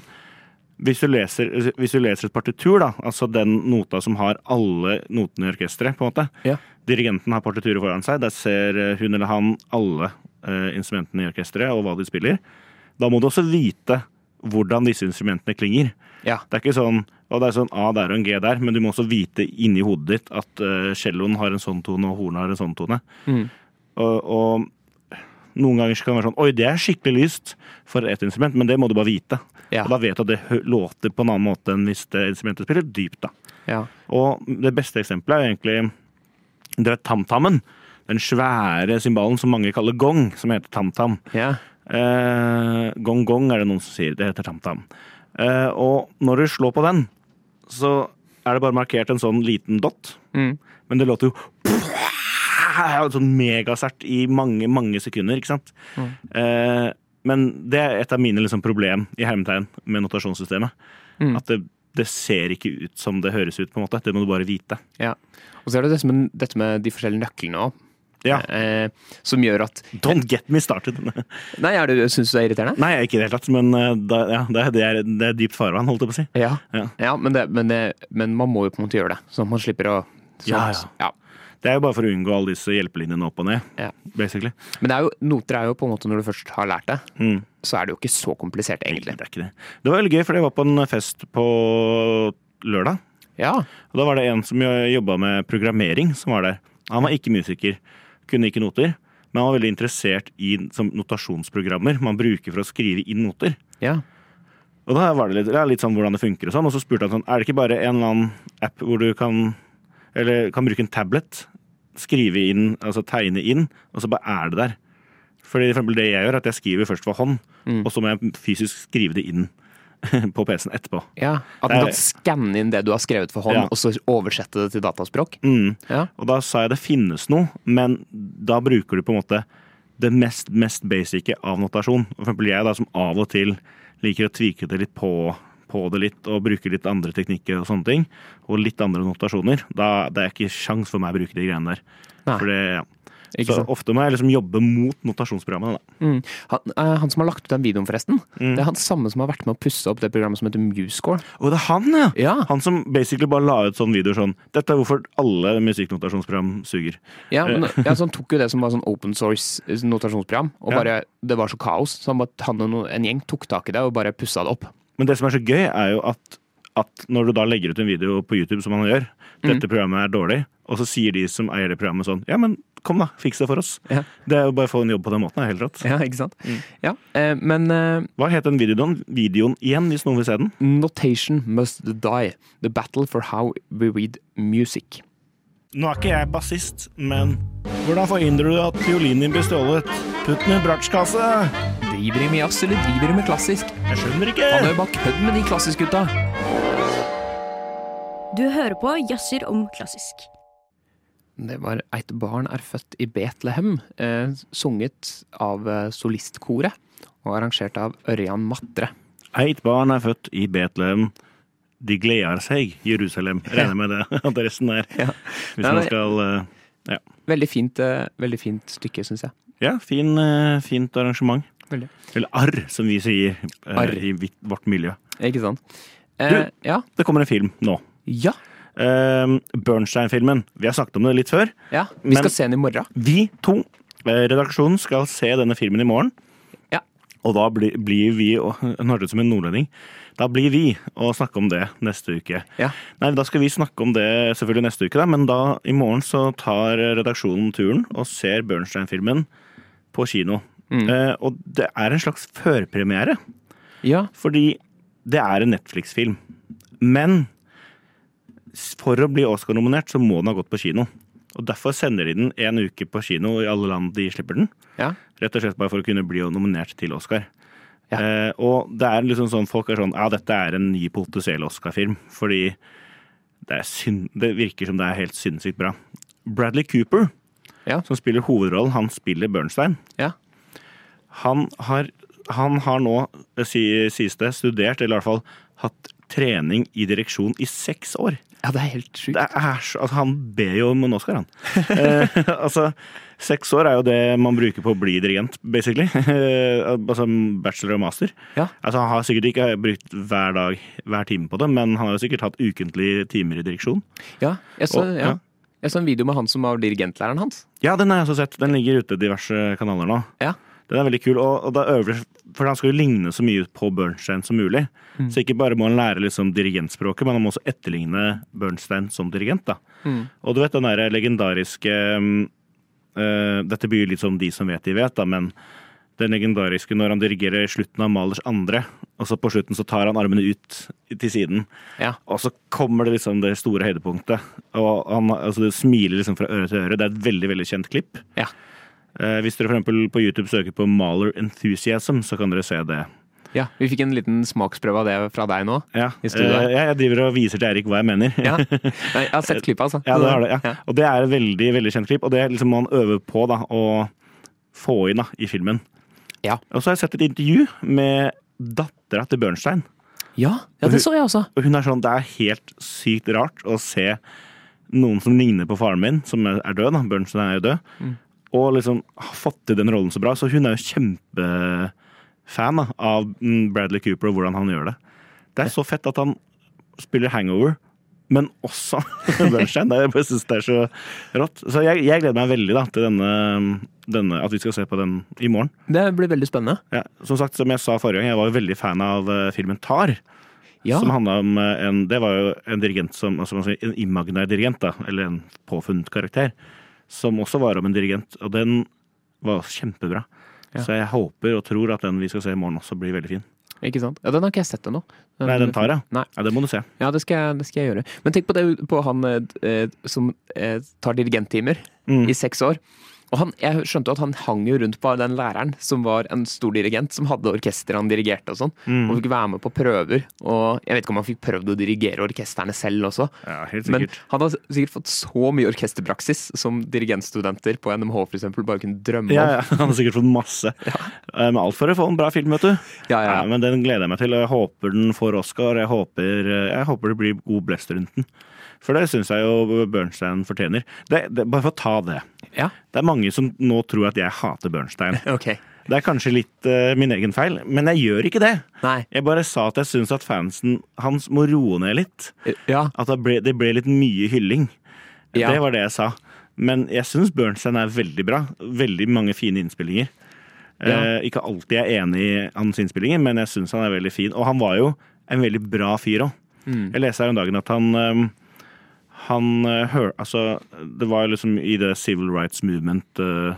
[SPEAKER 2] hvis du, leser, hvis du leser et partitur, da, altså den nota som har alle notene i orkesteret, på en måte
[SPEAKER 1] Ja.
[SPEAKER 2] Dirigenten har partituret foran seg, der ser eh, hun eller han alle eh, instrumentene i orkesteret og hva de spiller. Da må du også vite hvordan disse instrumentene klinger.
[SPEAKER 1] Ja.
[SPEAKER 2] Det er ikke sånn og det er sånn A der og en G der, men du må også vite inni hodet ditt at eh, celloen har en sånn tone, og hornet har en sånn tone.
[SPEAKER 1] Mm.
[SPEAKER 2] Og, og noen ganger så kan det være sånn Oi, det er skikkelig lyst for ett instrument, men det må du bare vite.
[SPEAKER 1] Ja.
[SPEAKER 2] Og da vet du at det hø- låter på en annen måte enn hvis det instrumentet spiller dypt, da.
[SPEAKER 1] ja.
[SPEAKER 2] Og det beste eksempelet er jo egentlig det er tamtammen. Den svære cymbalen som mange kaller gong, som heter tamtam.
[SPEAKER 1] ja.
[SPEAKER 2] Eh, gong gong er det noen som sier. Det heter tamtam. Eh, og når du slår på den, så er det bare markert en sånn liten dott.
[SPEAKER 1] Mm.
[SPEAKER 2] Men det låter jo sånn megasert i mange, mange sekunder, ikke sant? Eh, men det er et av mine liksom, problem i hermetegn med notasjonssystemet.
[SPEAKER 1] Mm.
[SPEAKER 2] At det, det ser ikke ut som det høres ut, på en måte. Det må du bare vite.
[SPEAKER 1] ja. Og så er det dette med, dette med de forskjellige nøklene òg.
[SPEAKER 2] Ja.
[SPEAKER 1] eh, som gjør at
[SPEAKER 2] Don't get me started.
[SPEAKER 1] Nei, er det- syns du det er irriterende?
[SPEAKER 2] Nei, ikke i det hele tatt, men eh, da, ja, det, er- det, er, det er dypt farvann, holdt jeg på å si.
[SPEAKER 1] Ja,
[SPEAKER 2] Ja.
[SPEAKER 1] ja men, det, men, det, men man må jo på en måte gjøre det, sånn at man slipper å sånn,
[SPEAKER 2] Ja, ja.
[SPEAKER 1] ja.
[SPEAKER 2] Det er jo bare for å unngå alle disse hjelpelinjene opp og ned,
[SPEAKER 1] Ja.
[SPEAKER 2] basically.
[SPEAKER 1] Men det er jo, noter er jo på en måte, når du først har lært det,
[SPEAKER 2] Mm.
[SPEAKER 1] så er det jo ikke så komplisert, egentlig.
[SPEAKER 2] Det er ikke det. Det var veldig gøy, for jeg var på en fest på lørdag.
[SPEAKER 1] Ja.
[SPEAKER 2] Og da var det en som jo- jobba med programmering som var der. Han var ikke musiker, kunne ikke noter, men han var veldig interessert i som notasjonsprogrammer man bruker for å skrive inn noter.
[SPEAKER 1] ja.
[SPEAKER 2] Og da var det litt, ja, litt sånn hvordan det funker og sånn, og så spurte han sånn, er det ikke bare en eller annen app hvor du kan, eller kan bruke en tablet, skrive inn, altså tegne inn, og så bare er det der. Fordi for eksempel det jeg gjør, er at jeg skriver først for hånd, og så må jeg fysisk skrive det inn på PC-en etterpå.
[SPEAKER 1] ja. At
[SPEAKER 2] Det er-
[SPEAKER 1] man kan skanne inn det du har skrevet for hånd,
[SPEAKER 2] Ja.
[SPEAKER 1] og så oversette det til dataspråk.
[SPEAKER 2] Mm.
[SPEAKER 1] Ja.
[SPEAKER 2] Og da sa jeg det finnes noe, men da bruker du på en måte det mest, mest basice av notasjon. For eksempel jeg da, som av og til liker å tvike det litt på, på det litt, og bruker litt andre teknikker og sånne ting, og litt andre notasjoner, da det er ikke sjans for meg å bruke de greiene der.
[SPEAKER 1] Nei.
[SPEAKER 2] For det, ja.
[SPEAKER 1] Ikke
[SPEAKER 2] Så
[SPEAKER 1] sant?
[SPEAKER 2] ofte må jeg liksom jobbe mot notasjonsprogrammene, da.
[SPEAKER 1] Mm. Han, eh, han som har lagt ut den videoen, forresten,
[SPEAKER 2] Mm.
[SPEAKER 1] det er han samme som har vært med å pusse opp det programmet som heter Musecore.
[SPEAKER 2] Og det er han, ja!
[SPEAKER 1] Ja.
[SPEAKER 2] Han som basically bare la ut sånne videoer sånn Dette er hvorfor alle musikknotasjonsprogram suger.
[SPEAKER 1] Ja, men, ja, så han tok jo det som var sånn open source notasjonsprogram, og
[SPEAKER 2] Ja.
[SPEAKER 1] bare, det var så kaos. Så han, bare, han og no- en gjeng tok tak i det og bare pussa det opp.
[SPEAKER 2] Men det som er så gøy, er jo at, at når du da legger ut en video på YouTube, som man gjør,
[SPEAKER 1] Mm.
[SPEAKER 2] dette programmet er dårlig, og så sier de som eier det programmet sånn Ja, men kom, da. Fiks det for oss.
[SPEAKER 1] Ja.
[SPEAKER 2] Det er jo bare å få en jobb på den måten. er Helt rått.
[SPEAKER 1] Ja, ikke sant? Ja, eh, men eh,
[SPEAKER 2] Hva het den videoen? Videoen igjen, hvis noen vil se den?
[SPEAKER 1] Notation must die. The battle for how we read music.
[SPEAKER 2] Nå er ikke jeg bassist, men hvordan forhindrer du at fiolinen din blir stjålet? Putt den i bratsjkasse!
[SPEAKER 1] Driver de med jazz, eller driver de med klassisk?
[SPEAKER 2] Jeg skjønner ikke!
[SPEAKER 1] Han er jo bare kødd med de klassisk-gutta.
[SPEAKER 4] Du hører på Jazzer om klassisk.
[SPEAKER 1] Det var Eit barn er født i Betlehem, eh, sunget av eh, solistkoret og arrangert av Ørjan Matre.
[SPEAKER 2] Eit barn er født i Betlehem. De gleder seg, Jerusalem. Regner med det. Adressen der. Hvis
[SPEAKER 1] Nei,
[SPEAKER 2] man
[SPEAKER 1] men-
[SPEAKER 2] skal eh,
[SPEAKER 1] Veldig fint, eh, veldig fint stykke, syns jeg.
[SPEAKER 2] Ja, fin, eh, fint arrangement.
[SPEAKER 1] Veldig.
[SPEAKER 2] Eller arr, som vi sier eh,
[SPEAKER 1] Arr.
[SPEAKER 2] i vitt- vårt miljø.
[SPEAKER 1] Ikke sant? Eh, ja.
[SPEAKER 2] Det kommer en film nå.
[SPEAKER 1] Ja.
[SPEAKER 2] Eh, Bernstein-filmen. Vi har snakket om det litt før.
[SPEAKER 1] ja. Vi
[SPEAKER 2] Men-
[SPEAKER 1] skal se den i morgen.
[SPEAKER 2] Vi to, eh, redaksjonen, skal se denne filmen i morgen.
[SPEAKER 1] Ja.
[SPEAKER 2] Og da blir, blir vi og- Nå hørtes det ut som en nordlending. Da blir vi å snakke om det neste uke.
[SPEAKER 1] Ja.
[SPEAKER 2] Nei, da skal vi snakke om det selvfølgelig neste uke, da, men da i morgen så tar redaksjonen turen og ser Bernstein-filmen på kino.
[SPEAKER 1] Mm.
[SPEAKER 2] Eh, og det er en slags førpremiere.
[SPEAKER 1] Ja.
[SPEAKER 2] Fordi det er en Netflix-film. Men for å bli Oscar-nominert, så må den ha gått på kino. Og derfor sender de den en uke på kino i alle land de slipper den.
[SPEAKER 1] ja.
[SPEAKER 2] Rett og slett bare for å kunne bli nominert til Oscar.
[SPEAKER 1] Ja.
[SPEAKER 2] Eh, og det er liksom sånn folk er sånn Ja, dette er en ny potensiell Oscar-film. Fordi det, er syn det virker som det er helt sinnssykt bra. Bradley Cooper,
[SPEAKER 1] Ja.
[SPEAKER 2] som spiller hovedrollen, han spiller Bernstein.
[SPEAKER 1] Ja.
[SPEAKER 2] Han har, han har nå, eh, si- sies det, studert, eller i hvert fall hatt trening i direksjon i seks år.
[SPEAKER 1] ja, det er helt sjukt.
[SPEAKER 2] Det er så, altså han ber jo om en Oscar, han. Eh, altså, seks år er jo det man bruker på å bli dirigent, basically. Eh, altså bachelor og master.
[SPEAKER 1] Ja.
[SPEAKER 2] Altså, han har sikkert ikke brukt hver dag, hver time på det, men han har jo sikkert hatt ukentlige timer i direksjon.
[SPEAKER 1] Ja. Jeg, så,
[SPEAKER 2] Og-
[SPEAKER 1] ja.
[SPEAKER 2] ja.
[SPEAKER 1] jeg så en video med han som var dirigentlæreren hans.
[SPEAKER 2] Ja, den har jeg også sett. Den ligger ute i diverse kanaler nå.
[SPEAKER 1] Ja.
[SPEAKER 2] Den er veldig kul, og, og da øver For han skal jo ligne så mye på Bernstein som mulig. Så ikke bare må han lære liksom dirigentspråket, men han må også etterligne Bernstein som dirigent. da. Og du vet den derre legendariske mm, eh, Dette blir jo litt som de som vet de vet, da, men den legendariske når han dirigerer slutten av Malers andre, og så på slutten så tar han armene ut til siden.
[SPEAKER 1] Ja.
[SPEAKER 2] Og så kommer det liksom det store høydepunktet. Og han altså det smiler liksom fra øre til øre. Det er et veldig veldig kjent klipp.
[SPEAKER 1] Ja.
[SPEAKER 2] Eh, hvis dere for eksempel på YouTube søker på Maler Enthusiasm, så kan dere se det.
[SPEAKER 1] ja. Vi fikk en liten smaksprøve av det fra deg nå.
[SPEAKER 2] Ja,
[SPEAKER 1] I studio her.
[SPEAKER 2] eh, jeg- jeg driver og viser til Erik hva jeg mener.
[SPEAKER 1] Ja. Nei, jeg har sett klippet, altså.
[SPEAKER 2] Ja, det har det, ja. Og det er et veldig veldig kjent klipp, og det er liksom man øver på da, å få inn da, i filmen.
[SPEAKER 1] Ja.
[SPEAKER 2] Og så har jeg sett et intervju med dattera til Bjørnstein.
[SPEAKER 1] Ja, ja, det så jeg også.
[SPEAKER 2] Og hun er sånn, det er helt sykt rart å se noen som ligner på faren min, som er død, da, Bjørnstein er jo død, og liksom har fått til den rollen så bra. Så hun er jo kjempefan da, av mm, Bradley Cooper og hvordan han gjør det. Det er så fett at han spiller Hangover, men også Bernstein. Det er- Jeg bare synes det er så rått. Så jeg, jeg gleder meg veldig da, til denne, denne, at vi skal se på den i morgen.
[SPEAKER 1] Det blir veldig spennende.
[SPEAKER 2] Ja, som sagt, som jeg sa forrige gang, jeg var jo veldig fan av eh, filmen Tar.
[SPEAKER 1] Ja.
[SPEAKER 2] Som handla om eh, en Det var jo en dirigent som altså man sier, En imaginær dirigent, da. Eller en påfunnet karakter. Som også var om en dirigent. Og den var kjempebra. Så jeg håper og tror at den vi skal se i morgen også blir veldig fin.
[SPEAKER 1] Ikke sant? Ja, den har ikke jeg sett ennå.
[SPEAKER 2] Nei, den tar jeg.
[SPEAKER 1] Nei.
[SPEAKER 2] Ja, det må du se.
[SPEAKER 1] Ja, det skal, jeg, det skal jeg gjøre. Men tenk på, det, på han eh, eh, som eh, tar dirigenttimer
[SPEAKER 2] Mm.
[SPEAKER 1] i seks år. Og han, jeg skjønte jo at han hang jo rundt på den læreren som var en stor dirigent, som hadde orkester han dirigerte og sånn,
[SPEAKER 2] Mm.
[SPEAKER 1] og fikk være med på prøver. Og jeg vet ikke om han fikk prøvd å dirigere orkestrene selv også,
[SPEAKER 2] Ja, helt
[SPEAKER 1] men
[SPEAKER 2] sikkert.
[SPEAKER 1] han har sikkert fått så mye orkesterpraksis som dirigentstudenter på NMH for eksempel bare kunne drømme om.
[SPEAKER 2] Ja, ja, Han har sikkert fått masse. Eh, Men alt for å få en bra film, vet du.
[SPEAKER 1] Ja, ja, ja.
[SPEAKER 2] men Den gleder jeg meg til, og jeg håper den får Oscar. Jeg håper, eh, jeg håper det blir god blest rundt den. For det syns jeg jo Bernstein fortjener. Det, det, bare for å ta det.
[SPEAKER 1] Ja,
[SPEAKER 2] Det er mange som nå tror at jeg hater Bernstein.
[SPEAKER 1] ok.
[SPEAKER 2] Det er kanskje litt eh, min egen feil, men jeg gjør ikke det.
[SPEAKER 1] Nei.
[SPEAKER 2] Jeg bare sa at jeg syns at fansen hans må roe ned litt.
[SPEAKER 1] Ja,
[SPEAKER 2] At det ble, det ble litt mye hylling.
[SPEAKER 1] Ja.
[SPEAKER 2] Det var det jeg sa. Men jeg syns Bernstein er veldig bra. Veldig mange fine innspillinger.
[SPEAKER 1] Ja.
[SPEAKER 2] Eh, ikke alltid jeg er enig i hans innspillinger, men jeg syns han er veldig fin. Og han var jo en veldig bra fyr òg.
[SPEAKER 1] Mm.
[SPEAKER 2] Jeg leste her om dagen at han eh, han eh, hør, altså, Det var liksom i det civil rights movement eh,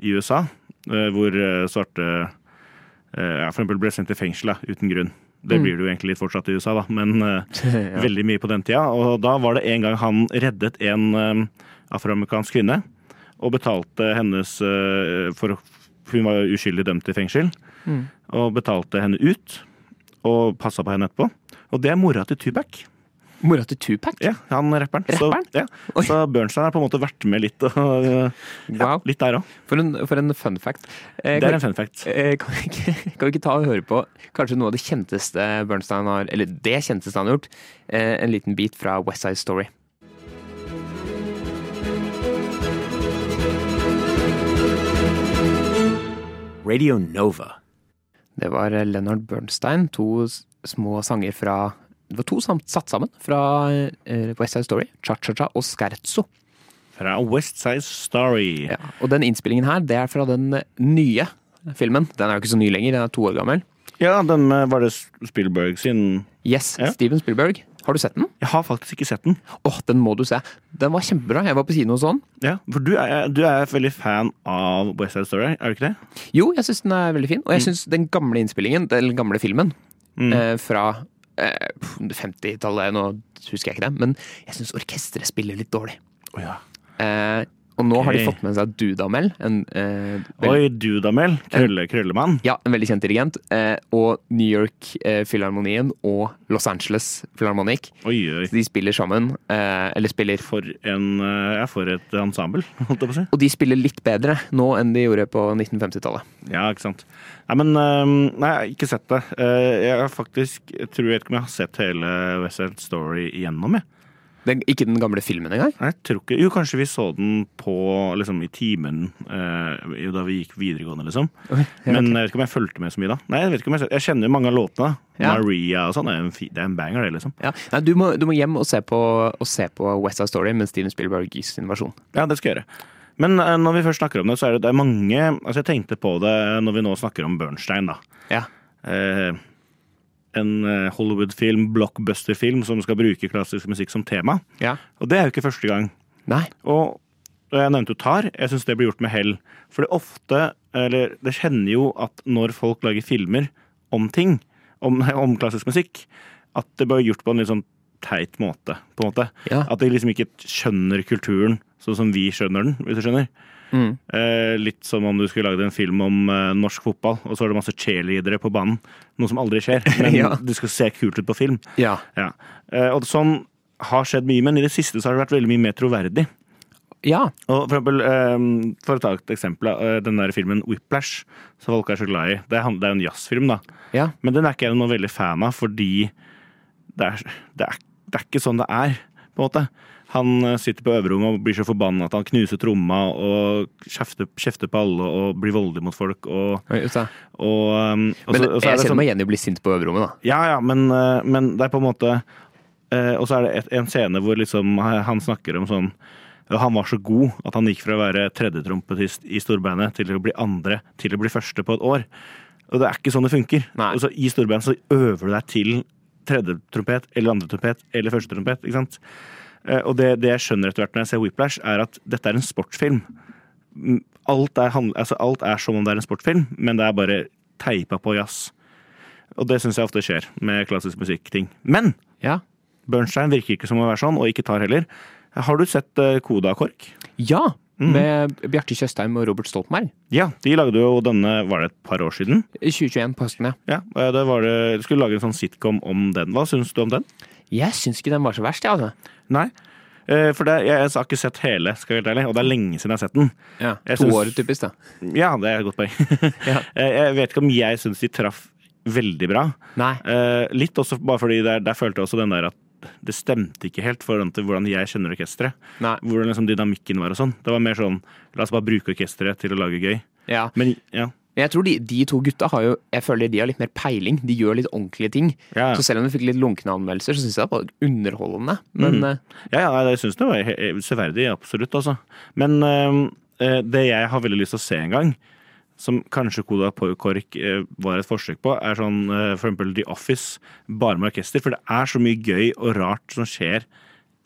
[SPEAKER 2] i USA, eh, hvor eh, svarte eh, ja, for eksempel ble sendt i fengsel da, uten grunn. Det
[SPEAKER 1] Mm.
[SPEAKER 2] blir det jo egentlig litt fortsatt i USA, da, men eh, veldig mye på den tida. Og da var det en gang han reddet en eh, afroamerikansk kvinne og betalte hennes eh, For hun var jo uskyldig dømt til fengsel.
[SPEAKER 1] Mm.
[SPEAKER 2] Og betalte henne ut og passa på henne etterpå. Og det er mora til Tubac.
[SPEAKER 1] mora til Tupac?
[SPEAKER 2] Ja, han rapperen.
[SPEAKER 1] Rapperen?
[SPEAKER 2] Så, ja.
[SPEAKER 1] Oi.
[SPEAKER 2] så Bernstein har på en måte vært med litt, og, eh, ja,
[SPEAKER 1] Wow.
[SPEAKER 2] litt der òg.
[SPEAKER 1] For en, for en fun fact. Eh,
[SPEAKER 2] Det
[SPEAKER 1] kan-
[SPEAKER 2] er en fun fact.
[SPEAKER 1] Eh, Kan vi, ikke, kan vi ikke ta og høre på kanskje noe av det kjenteste Bernstein har Eller det kjenteste han har gjort? eh, En liten bit fra West Side Story.
[SPEAKER 3] Radio Nova.
[SPEAKER 1] Det var eh, Leonard Bernstein. To s- små sanger fra Det var to sam- satt sammen fra eh, West Side Story. Cha-cha-cha og Scherzo.
[SPEAKER 2] Fra West Side Story.
[SPEAKER 1] Ja. Og den innspillingen her, det er fra den eh, nye filmen. Den er jo ikke så ny lenger, den er to år gammel.
[SPEAKER 2] Ja, den med- var det Spielberg sin
[SPEAKER 1] Yes,
[SPEAKER 2] Ja.
[SPEAKER 1] Steven Spielberg. Har du sett den?
[SPEAKER 2] Jeg har faktisk ikke sett den.
[SPEAKER 1] Åh, den må du se. Den var kjempebra. Jeg var på kino og sånn.
[SPEAKER 2] Ja, for du er, du er veldig fan av West Side Story, er du ikke det?
[SPEAKER 1] Jo, jeg syns den er veldig fin. Og jeg syns den gamle innspillingen, den gamle filmen,
[SPEAKER 2] Mm.
[SPEAKER 1] eh, fra eh, pff, 50-tallet, nå husker jeg ikke det, men jeg syns orkesteret spiller litt dårlig.
[SPEAKER 2] Å ja.
[SPEAKER 1] Eh, og nå har de
[SPEAKER 2] Ok.
[SPEAKER 1] fått med seg Dudamel, en, eh, vel-
[SPEAKER 2] Oi, Dudamel. Krølle, krøllemann.
[SPEAKER 1] ja, en veldig kjent dirigent, eh, og New York eh, Filharmonien og Los Angeles Filharmonic.
[SPEAKER 2] Oi, oi.
[SPEAKER 1] De spiller sammen, eh, eller spiller
[SPEAKER 2] For en eh, Ja, for et ensemble, holdt jeg på å si.
[SPEAKER 1] Og de spiller litt bedre nå enn de gjorde på 1950-tallet.
[SPEAKER 2] Ja, ikke sant. Nei, men ehm, Nei, jeg har ikke sett det. Eh, Jeg har faktisk jeg tror jeg vet ikke om jeg har sett hele West Side Story igjennom, jeg.
[SPEAKER 1] Den- Ikke den gamle filmen engang.
[SPEAKER 2] Nei, Jeg tror ikke Jo, kanskje vi så den på liksom i timen eh, da vi gikk videregående, liksom. Men jeg vet ikke om jeg fulgte med så mye da. Nei, Jeg vet ikke om jeg sett- Jeg kjenner jo mange av låtene.
[SPEAKER 1] Ja.
[SPEAKER 2] Maria og sånn. er en fi- Det er en banger, det, liksom.
[SPEAKER 1] Ja. Nei, du, må, du må hjem og se på, og se på West Side Story med Steven Spielberg i sin versjon.
[SPEAKER 2] Ja, det skal jeg gjøre. Men eh, når vi først snakker om det, så er det, det er mange Altså, jeg tenkte på det når vi nå snakker om Bernstein, da.
[SPEAKER 1] Ja.
[SPEAKER 2] Eh, en eh, Hollywood-film, blockbuster-film, som skal bruke klassisk musikk som tema.
[SPEAKER 1] ja.
[SPEAKER 2] Og det er jo ikke første gang.
[SPEAKER 1] Nei.
[SPEAKER 2] Og og jeg nevnte jo Tar. Jeg syns det blir gjort med hell. For det ofte, eller det kjenner jo at når folk lager filmer om ting, om, om klassisk musikk, at det blir gjort på en litt sånn teit måte, på en måte.
[SPEAKER 1] Ja.
[SPEAKER 2] At de liksom ikke skjønner kulturen sånn som vi skjønner den, hvis du skjønner.
[SPEAKER 1] Mm.
[SPEAKER 2] Eh, litt som om du skulle lagd en film om eh, norsk fotball, og så er det masse cheerleadere på banen. Noe som aldri skjer, men
[SPEAKER 1] Ja.
[SPEAKER 2] det skal se kult ut på film.
[SPEAKER 1] Ja.
[SPEAKER 2] Ja. Eh, og sånn har skjedd mye, men i det siste så har det vært veldig mye mer troverdig.
[SPEAKER 1] Ja.
[SPEAKER 2] Og for, eksempel, ehm, for å ta et eksempel, eh, den der filmen Whiplash, som folk er så glad i. Det er, han- det er jo en jazzfilm, da.
[SPEAKER 1] ja.
[SPEAKER 2] Men den er ikke jeg noe veldig fan av, fordi det er, det er, det er ikke sånn det er, på en på en måte. Han eh, sitter på øverrommet og blir så forbanna at han knuser tromma og kjefter, kjefter på alle og blir voldelig mot folk. Og,
[SPEAKER 1] Oi, ut da.
[SPEAKER 2] og, um, og
[SPEAKER 1] Men
[SPEAKER 2] så- og så er
[SPEAKER 1] jeg
[SPEAKER 2] det
[SPEAKER 1] kjenner
[SPEAKER 2] sånn-
[SPEAKER 1] meg igjen i å bli sint på øverrommet, da.
[SPEAKER 2] Ja, ja, men, eh, men det er på en måte eh, Og så er det et, en scene hvor liksom han snakker om sånn ja, Han var så god at han gikk fra å være tredjetrompetist i storbandet til å bli andre, til å bli første på et år. Og det er ikke sånn det funker.
[SPEAKER 1] Nei.
[SPEAKER 2] Og så I storband så øver du deg til tredjetrompet eller andre trompet eller første trompet. ikke sant? Eh, Og det, det jeg skjønner etter hvert når jeg ser Whiplash, er at dette er en sportsfilm. Mm, Alt er, handl- altså alt er som om det er en sportsfilm, men det er bare teipa på jazz. Og det syns jeg ofte skjer med klassisk musikk-ting. Men
[SPEAKER 1] Ja.
[SPEAKER 2] Bernstein virker ikke som å være sånn, og ikke tar heller. Har du sett eh, Koda KORK?
[SPEAKER 1] ja med Bjarte Tjøstheim og Robert Stoltenberg.
[SPEAKER 2] Ja, de lagde jo denne, var det et par år siden?
[SPEAKER 1] 2021 på høsten, ja.
[SPEAKER 2] Ja, eh, det var det, Du skulle lage en sånn sitcom om den. Hva syns du om den?
[SPEAKER 1] Jeg syns ikke den var så verst, jeg, altså.
[SPEAKER 2] Nei. Eh, For det, jeg, jeg har ikke sett hele, skal jeg være helt ærlig, og det er lenge siden jeg har sett den.
[SPEAKER 1] Ja,
[SPEAKER 2] Jeg
[SPEAKER 1] to
[SPEAKER 2] syns-
[SPEAKER 1] år, typisk, da.
[SPEAKER 2] Ja, det er et godt poeng.
[SPEAKER 1] Ja.
[SPEAKER 2] Eh, Jeg vet ikke om jeg syns de traff veldig bra.
[SPEAKER 1] Nei.
[SPEAKER 2] Eh, Litt også bare fordi der, der følte jeg også den der at det stemte ikke helt for den til hvordan jeg kjenner orkesteret.
[SPEAKER 1] Nei.
[SPEAKER 2] Hvordan liksom dynamikken var og sånn. Det var mer sånn la oss bare bruke orkesteret til å lage gøy.
[SPEAKER 1] Ja.
[SPEAKER 2] Men ja.
[SPEAKER 1] Men jeg tror de, de to gutta har jo Jeg føler de har litt mer peiling. De gjør litt ordentlige ting.
[SPEAKER 2] Ja.
[SPEAKER 1] Så selv om de fikk litt lunkne anmeldelser, så syns jeg det var underholdende.
[SPEAKER 2] Mm.
[SPEAKER 1] Men eh,
[SPEAKER 2] Ja, ja, nei, jeg syns det var he- he- severdig, absolutt, altså. Men øhm, eh, det jeg har veldig lyst til å se en gang, som kanskje Koda Kork eh, var et forsøk på, er sånn eh, for eksempel The Office, bare med orkester. For det er så mye gøy og rart som skjer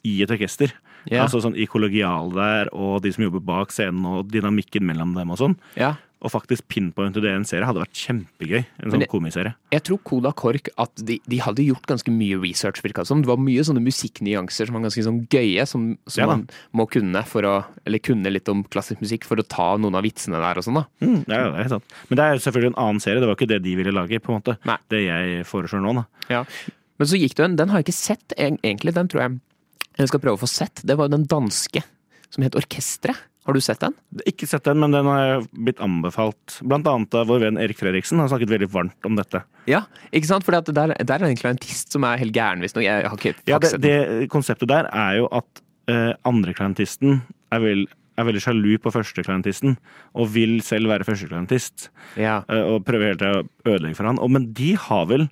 [SPEAKER 2] i et orkester.
[SPEAKER 1] Ja.
[SPEAKER 2] Altså sånn i kollegial der, og de som jobber bak scenen, og dynamikken mellom dem og sånn.
[SPEAKER 1] ja.
[SPEAKER 2] Og faktisk pinpointe det i en serie hadde vært kjempegøy. En
[SPEAKER 1] Men
[SPEAKER 2] sånn
[SPEAKER 1] det-
[SPEAKER 2] komiserie.
[SPEAKER 1] Jeg tror Koda Kork at de, de hadde gjort ganske mye research, virka det som. Det var mye sånne musikknyanser som var ganske sånn gøye, som, som
[SPEAKER 2] Ja da.
[SPEAKER 1] man må kunne for å Eller kunne litt om klassisk musikk for å ta noen av vitsene der og sånn, da.
[SPEAKER 2] Mm, ja, ja, det er helt sant. Men det er jo selvfølgelig en annen serie. Det var ikke det de ville lage, på en måte.
[SPEAKER 1] Nei.
[SPEAKER 2] Det jeg foreslår nå, da.
[SPEAKER 1] Men så gikk det jo en Den har jeg ikke sett, eg- egentlig. Den tror jeg jeg skal prøve å få sett. Det var jo den danske som het Orkesteret. Har du sett den?
[SPEAKER 2] Ikke sett den, men den har blitt anbefalt. Blant annet av vår venn Erik Fredriksen har snakket veldig varmt om dette.
[SPEAKER 1] Ja, ikke sant? For der, der er det egentlig en artist som er helt gæren, visstnok. Jeg, jeg har ikke
[SPEAKER 2] Ja,
[SPEAKER 1] faktisk
[SPEAKER 2] det,
[SPEAKER 1] sett den.
[SPEAKER 2] det Konseptet der er jo at eh, andreklientisten er, vel- er veldig sjalu på førsteklientisten, og vil selv være førsteklientist.
[SPEAKER 1] Ja.
[SPEAKER 2] eh, og prøver hele tida å ødelegge for han. Og, men de har vel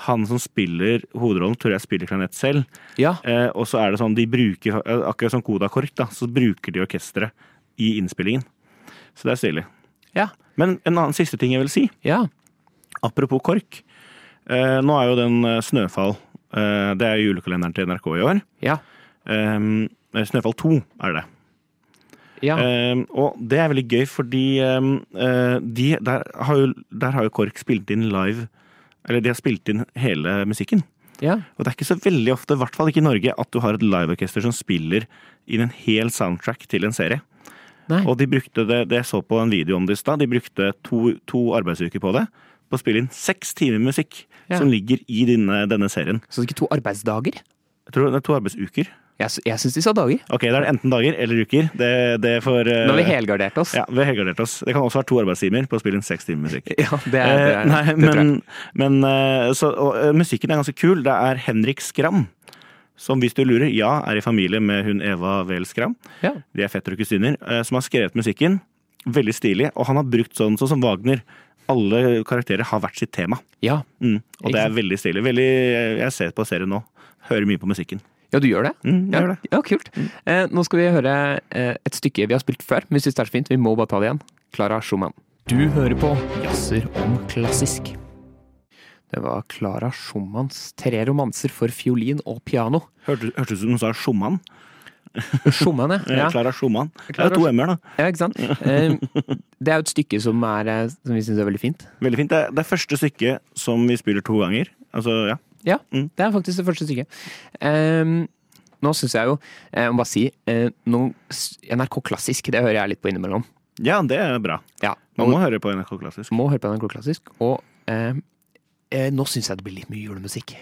[SPEAKER 2] han som spiller hovedrollen, tror jeg spiller klarinett selv.
[SPEAKER 1] ja.
[SPEAKER 2] Eh, og så er det sånn, de bruker, eh, akkurat som Koda Kork, da, så bruker de orkesteret i innspillingen. Så det er stilig.
[SPEAKER 1] Ja.
[SPEAKER 2] Men en annen siste ting jeg vil si.
[SPEAKER 1] Ja.
[SPEAKER 2] Apropos KORK. Eh, nå er jo den eh, Snøfall eh, Det er jo julekalenderen til NRK i år.
[SPEAKER 1] Ja.
[SPEAKER 2] Ehm, eh, Snøfall 2 er det.
[SPEAKER 1] ja.
[SPEAKER 2] Ehm, og det er veldig gøy, fordi ehm, eh, de, der, har jo, der har jo KORK spilt inn live Eller de har spilt inn hele musikken.
[SPEAKER 1] ja.
[SPEAKER 2] Og det er ikke så veldig ofte, i hvert fall ikke i Norge, at du har et liveorkester som spiller inn en hel soundtrack til en serie.
[SPEAKER 1] Nei.
[SPEAKER 2] Og de brukte det, det jeg så på en video om det i stad, de brukte to, to arbeidsuker på det. På å spille inn seks timer musikk
[SPEAKER 1] Ja.
[SPEAKER 2] som ligger i denne, denne serien.
[SPEAKER 1] Så det er ikke to arbeidsdager?
[SPEAKER 2] Jeg tror det er to arbeidsuker.
[SPEAKER 1] Jeg, sy- jeg syns de sa dager.
[SPEAKER 2] Ok, da er det enten dager eller uker. Det, det får eh,
[SPEAKER 1] Nå har vi helgardert oss.
[SPEAKER 2] Ja, vi har helgardert oss. Det kan også være to arbeidstimer på å spille inn seks timer musikk.
[SPEAKER 1] Ja, det, er, det,
[SPEAKER 2] Eh,
[SPEAKER 1] er,
[SPEAKER 2] Nei,
[SPEAKER 1] det tror jeg.
[SPEAKER 2] men, men eh, så, og, eh, musikken er ganske kul. Det er Henrik Skram, som hvis du lurer, ja, er i familie med hun Eva Wehl Skram.
[SPEAKER 1] Ja.
[SPEAKER 2] De er fetter og kusiner, eh, som har skrevet musikken. Veldig stilig. Og han har brukt sånn, sånn som Wagner. Alle karakterer har hvert sitt tema.
[SPEAKER 1] Ja.
[SPEAKER 2] Mm. Og
[SPEAKER 1] Ikke
[SPEAKER 2] det er
[SPEAKER 1] sant?
[SPEAKER 2] veldig stilig. Veldig, eh, jeg ser på serien nå. Hører mye på musikken.
[SPEAKER 1] ja, du gjør det?
[SPEAKER 2] Mm, jeg
[SPEAKER 1] ja.
[SPEAKER 2] gjør det.
[SPEAKER 1] ja, kult. Eh, nå skal vi høre eh, et stykke vi har spilt før, men vi syns det er så fint. Vi må bare ta det igjen. Klara Schumann. Du hører på Jazzer om klassisk. Det var Klara Schumanns tre romanser for fiolin og piano.
[SPEAKER 2] Hørte- Hørtes ut som hun sa Schumann.
[SPEAKER 1] Schumann, ja.
[SPEAKER 2] Klara Schumann. Det er
[SPEAKER 1] Clara
[SPEAKER 2] jo to m-er, da.
[SPEAKER 1] Ja, ikke sant? Eh, Det er jo et stykke som, er, eh, som vi syns er veldig fint.
[SPEAKER 2] Veldig fint. Det er, det er første stykket som vi spiller to ganger. Altså, ja.
[SPEAKER 1] Ja,
[SPEAKER 2] Mm.
[SPEAKER 1] det er faktisk det første stykket. Eh, nå syns jeg jo, eh, jeg må bare si, eh, nå, s- NRK Klassisk, det hører jeg litt på innimellom.
[SPEAKER 2] ja, det er bra.
[SPEAKER 1] Ja,
[SPEAKER 2] Man må
[SPEAKER 1] og,
[SPEAKER 2] høre på NRK Klassisk.
[SPEAKER 1] må høre på NRK Klassisk. Og eh, eh, nå syns jeg det blir litt mye julemusikk